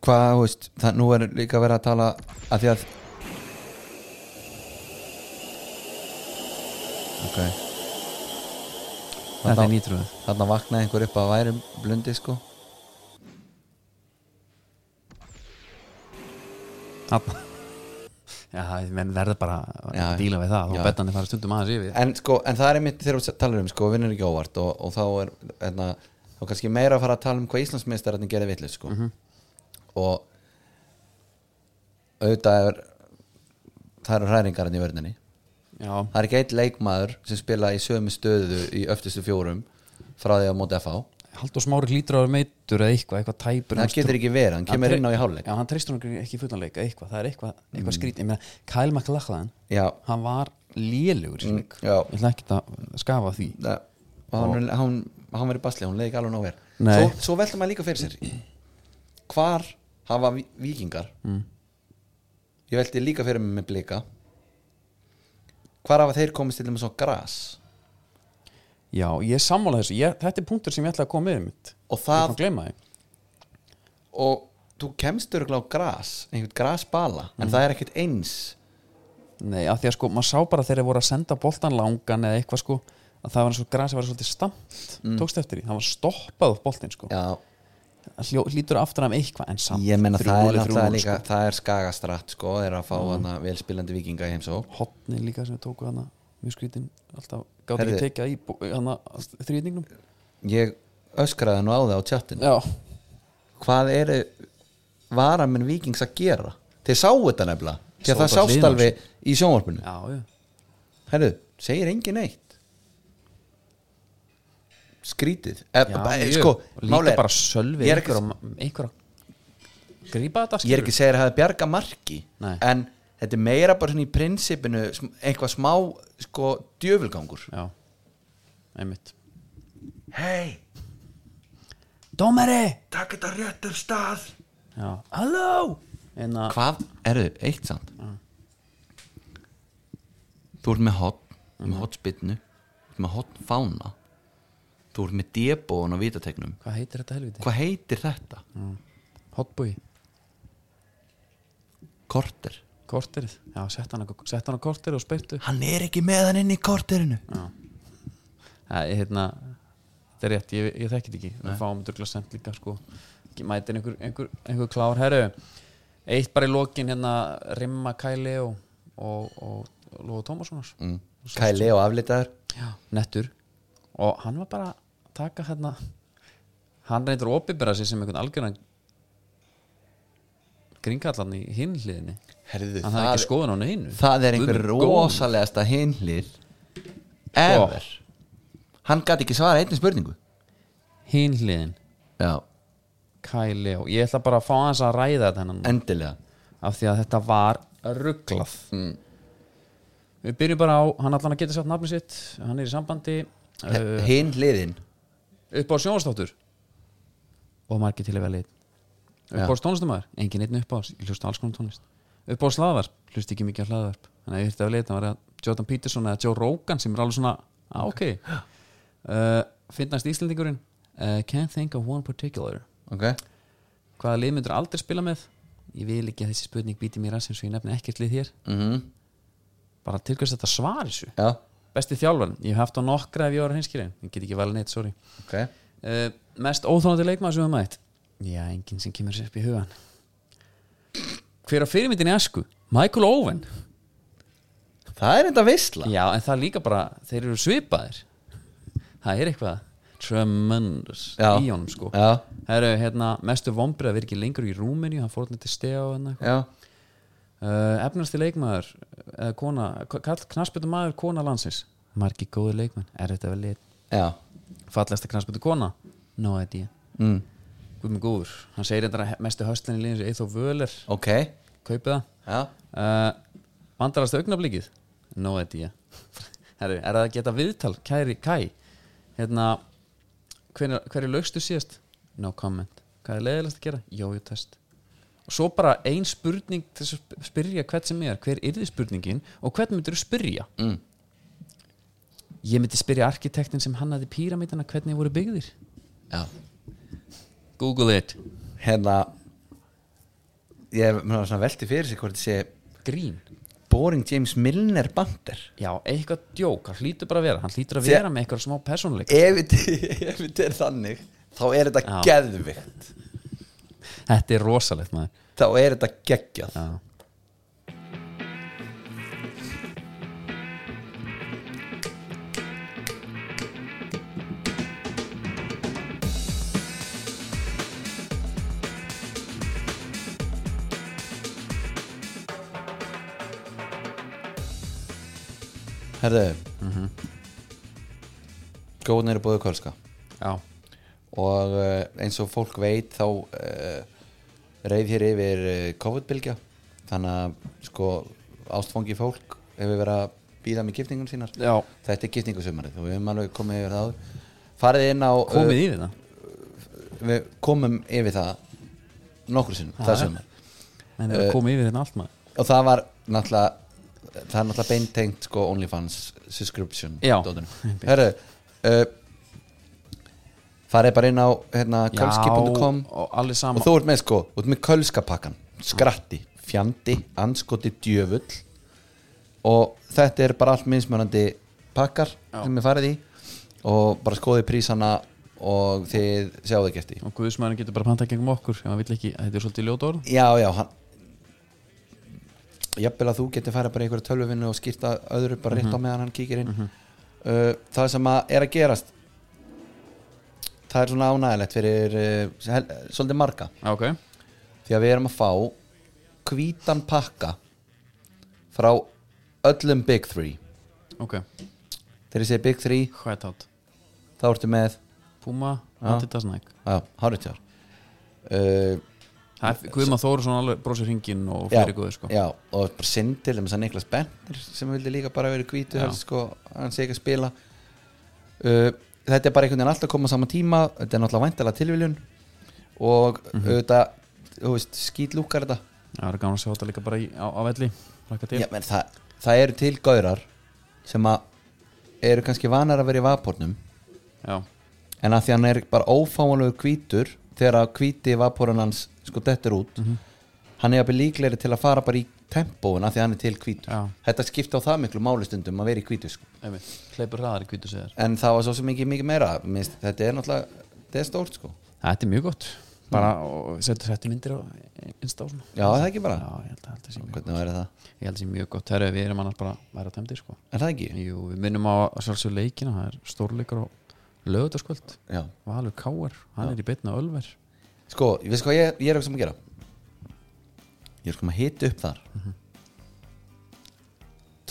hvað, þú veist það nú er líka verið að tala að því að ok þetta er þarna, nýtrúð þarna vaknaði einhver upp að væri blundi sko Já, það- menn verður bara að Já, já. díla við það Já. og bettandi fara stundum aðeins yfir en sko, en það er einmitt þegar við talar um sko, vinnur ekki óvart og, og þá er enna, þá kannski meira að fara að tala um hvað Íslandsmeistararnir gerði vitlega sko og auðvitað er það eru hræringarinn í vörninni Já, það er ekki eitt leikmaður sem spila í sömu stöðu í öftustu fjórum frá því á móti FH Haldur Smári hlýtur að vera meitur eða eitthvað, eitthvað tæpur það getur ekki verið, hann kemur inn á í hálfleik Já, hann treystur hann ekki í fullan leik eða eitthvað, það er eitthvað, eitthvað mm. skrít Ég meina, Kyle McLachlan, já, hann var lélugur í mm. leik já. Ég ætla ekki að skafa því það- og hann, hann, hann var í basli, hún leiði ekki alveg nóver Nei. svo, svo velta maður líka fyrir sér hvar hafa vi- vikingar ég velti líka fyrir mig með blika hvar hafa þeir komist til þeim svo gras Já, ég er sammála þessu, ég, þetta er punktur sem ég ætla að koma með mitt og Ég það kom að gleyma því og þú kemst örgulega á gras einhvern grasbala, en það er ekkert eins Nei, af því að sko, maður sá bara þegar þeir voru að senda boltan langan eða eitthvað sko að það var eins og grasið var svolítið stamt tókst eftir því, það var stoppað upp boltinn sko. Mm. Já, Það hljó, hlýtur aftur af eitthvað en samt ég menna það er 3-0, náttúrulega 3-0, líka það er skagastratt sko, er að fá hana velspilandi vikinga í heimsó sko. hotni líka sem við tóku hana mjög skrítin, alltaf gátt ekki Herðu. tekið í bú- hana þrýðningnum ég öskraði nú á það á tjattinu já, hvað eru varamenn vikings að gera þeir sáu þetta nefnilega Sáu því að það bara sást hliðina á alveg í sjónvarpinu já, já, herru, segir engin neitt skrítið e, já bara, mjög. sko, Og mál líka er, bara sölvi ég er ekki, einhver, að- einhver að grípa þetta ég er ekki að segja að það hefði bjarga marki Nei. en þetta er meira bara svona í prinsipinu sm- eitthvað smá sko djöfulgangur já, einmitt hei, Dómari! takk þetta réttum stað Já, Hérna- halló en að, hvað eru, eitt samt þú ert með hotn með hotspinnu, þú ert með hotn fána þú ert með debóin á vítategnum hvað heitir þetta helviti? hvað heitir þetta? Hotbúi, korter korterið já, sett hann, á- sett hann á korterið og speyrtu hann er ekki með hann inn í korterinu Það er hérna Þetta er rétt, ég, ég þekki þetta ekki Við fáum þetta sent líka sko Ekki Mætir einhver, einhver, einhver klár herru Eitt bara í lokin hérna Rimma Kæli og, og, og, og Lóðu Tómassonar mm. Kæli og aflitaður Já, nettur Og hann var bara að taka hérna Hann reyndur að opibera sig sem einhvern algjöran Gringallan í hinliðinni Herðu, Hann hafði ekki skoðun á neinu sko, það er Guð einhver minn góður. Sko. rosalegasta hinlið ever hann gæti ekki svara einnig spurningu Hinliðin, já, Kæli og Ég ætla bara að fá hans að ræða þetta hennan endilega af því að þetta var rugglað Mm. við byrjum bara á, hann allan að geta satt nafni sitt hann er í sambandi uh, uh. hinn liðin upp á sjónastáttur og margir til að vera lit upp á stónustumæður, engin einn upp á ég hlusta alls konum tónlist upp á slaðvarp, hlusta ekki mikið á hlaðvarp þannig að ég hlusta að leita, var það Jordan Peterson eða Joe Rogan sem er alveg svona ah, ok, uh, finnast Íslendingurinn uh, can't think of one particular ok hvaða lið myndur aldrei spila með ég vil ekki að þessi spurning býti mér að sem svo ég nefni ekkert lið hér mm bara til hvers þetta svar þessu já, besti þjálfarn, ég hef haft á nokkra ef ég var hinskýrin, ég get ekki valið neitt, sorry ok uh, mest óþólandi leikmaður sem við mætt já, enginn sem kemur sér upp í hugan hver á fyrirmyndin í asku Michael Owen það er enda veistla já, en það er líka bara, þeir eru svipaðir það er eitthvað tremendous Já. í honum sko já, Heru, hérna, mestu vombrið að vera ekki lengur í Rúmeni hann fór hann til stega og hann já. uh, efnasti leikmaður eða kona, kall knarsbyttu maður kona landsins, margi góði leikmenn er þetta vel lit, já. fallegsta knarsbyttu kona no idea, Mm. guð mig góður hann segir þetta mestu höstlinn í liðins Eithó Völer, ok kaupið það já. uh, vandarast augnablíkið no idea Herri, er það að geta viðtal, kæri kæ hérna hverju hver lögstu síðast? no comment hvað er leiðilegast að gera? jójú test og svo bara ein spurning til þess að sp- spyrja hvert sem er, hver yrði spurningin og hvern myndir þú spyrja Mm. ég myndi spyrja arkitektin sem hannaði píramítana hvernig voru byggðir já google it hérna ég er mér var svona velti fyrir sig hvort þessi grín Boring James Milner bandir já, eitthvað djók, hann hlýtur bara að vera hann hlýtur að Þe- vera með eitthvað smá persónuleik ef þetta- ef þetta er þannig þá er þetta Já. geðvikt þetta er rosalegt maður þá er þetta geggjað Já herðu mm -hmm. góðnir er búið kölska Já, og eh, eins og fólk veit þá uh, reyð hér yfir uh, COVID-bylgja þannig að sko ástfangi fólk hefur verið að býða með giftingum sínar Já. þetta er giftingusumarið og við höfum alveg komið yfir það áður. farið inn á komið í þetta uh, við komum yfir það nokkur sinnum það já. sumar En það er komið yfir þetta allt maður og það var náttúrulega það er náttúrulega beintengt sko OnlyFans subscription Já. dótinu. Herru uh, farið bara inn á hérna, kölski.com Já, og alveg og sama þú ert með sko, þú ert með kölskapakkan skratti, fjandi, anskoti djöfull og þetta er bara allt minnsmörandi pakkar sem er farið í og bara skoðið prísana og þið sjáðu ekki eftir því. og guðsmaðurinn getur bara pantað gengum okkur ef hann vill ekki, þetta er svolítið ljóta orð já, já hann... jafnvel að þú getur færa bara í einhverja tölvuvinnu og skýrta öðru bara rétt á meðan hann kíkir inn uh, það sem að er að gerast það er svona ánægilegt fyrir uh, hel- svolítið marga Já, ok, því að við erum að fá hvítan pakka frá öllum Big Three ok, þegar ég segi Big Three hvað er tát þá ertu með Puma, Já. Adidas Nike já, hárutjar uh, Það er Guðma Þórsson alveg brósir hringin og já, fyrir guði sko já, og bara sindil um þess að Niklas Benner sem vildi líka bara vera hvítu Já. helst, sko, hann sé ekki að spila uh, þetta er bara einhvern veginn alltaf að koma á sama tíma, þetta er náttúrulega væntalega tilviljun og Mhm. auðvitað þú veist, skýt lúkar þetta Það er gaman að sjá þetta líka bara í, á, á velli Rækka til Já, menn, það, það eru til gaurar sem að eru kannski vanar að vera í vapornum Já, en að því hann er bara ófáanlegur hvítur þegar að hvíti vaporun hans sko dettur út Mhm. hann er jafnvel líklegri til að fara bara í tempóin að því að hann er til hvítur Já. þetta skipta á það miklu máli stundum að vera í hvítur sko. einmitt, hleypur hraðar í hvítu segðar en það var svo sem ekki mikið meira Minst, þetta er náttúrulega, þetta er stórt sko Þetta er mjög gott Bara, Mm. og setja þetta myndir á Insta og svona já, það er ekki bara, Já, ég held að þetta sé mjög, hvernig væri það ég held að sé mjög gott Herra, við erum annars bara að vera tæmdir sko er það ekki? Jú, við minnum á að sjálfsög leikina Það er stórleikur á lögutaskvöld Já. Valur Káar, hann er í beinna Ölver sko, ég veist hvað ég, ég er ekki sem að gera ég er sko að hita upp þar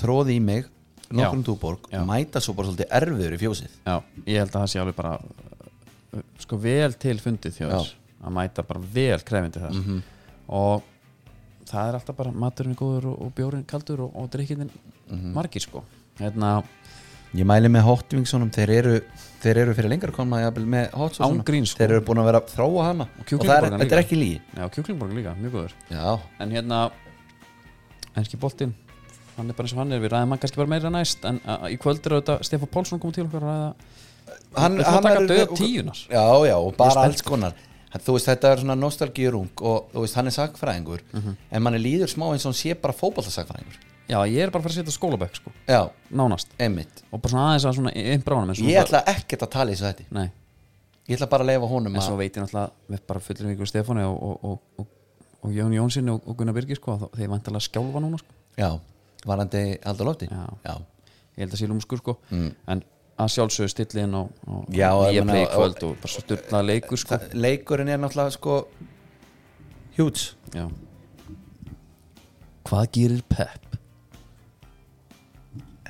tróði í mig nokkrum túborg, Já. mæta svo bara svolítið erfiður í fjósið Já, ég held að það sé alveg bara uh, sko vel til fundið þjóð Já. að mæta bara vel krefindi þar og það er alltaf bara maturinn er góður og, og bjórin kaldur og, og drikkinin margir sko hérna Ég mæli með Hot Wingsunum, þeir eru þeir eru fyrir lengra koma jafnvel, með Hot Sauce Án gríns, sko. þeir eru búin að vera að þróa hana Og og það er, kjúklingabólgan þetta er líka. ekki lígi já, kjúklingborg líka, mjög góður Já, en hérna, enski boltinn hann er bara eins og hann er, við ræðum hann kannski bara meira næst en uh, í kvöld er auðvitað Stefán Pálsson komið til okkar að ræða hann, Við ætlum að taka er- dauða tíunar Já, já, og bara spennt. alls konar Hann- Þú veist, þetta er svona nostalgírung og þú veist, hann er sagfræðingur en manni líður smá eins og hann sé bara fótballtasagfræðingur já, ég er bara að fara að setja skólabæk sko, Já, nánast einmitt og bara svona aðeins að svona einbráðanum Ég ætla ekkert að tala í þessu þetta nei, Ég ætla bara að leifa honum en svo að veit ég náttúrulega við bara fullir ykkur Stefáni og, og, og, og, og Jón Jónsson og, og Gunnar Birgir sko, þá- þeir vantilega skjálfa núna sko. Já, varandi haldur lofti Já. já, ég held að sé lúmskur sko. en að sjálfsögðu stilliðin á, á Mm. Já, ég nýja meina, play í kvöld og bara svo styrlaða leikur sko. Það, Leikurinn er náttúrulega sko Hjúts Já. hvað gerir Pep?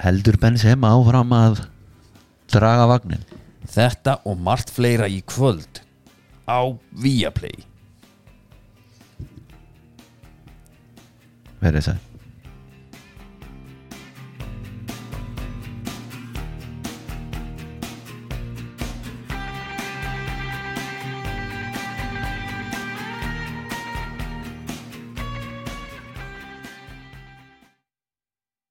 heldur Benzema áfram að draga vagnin þetta og margt fleira í kvöld á Viaplay verið sætt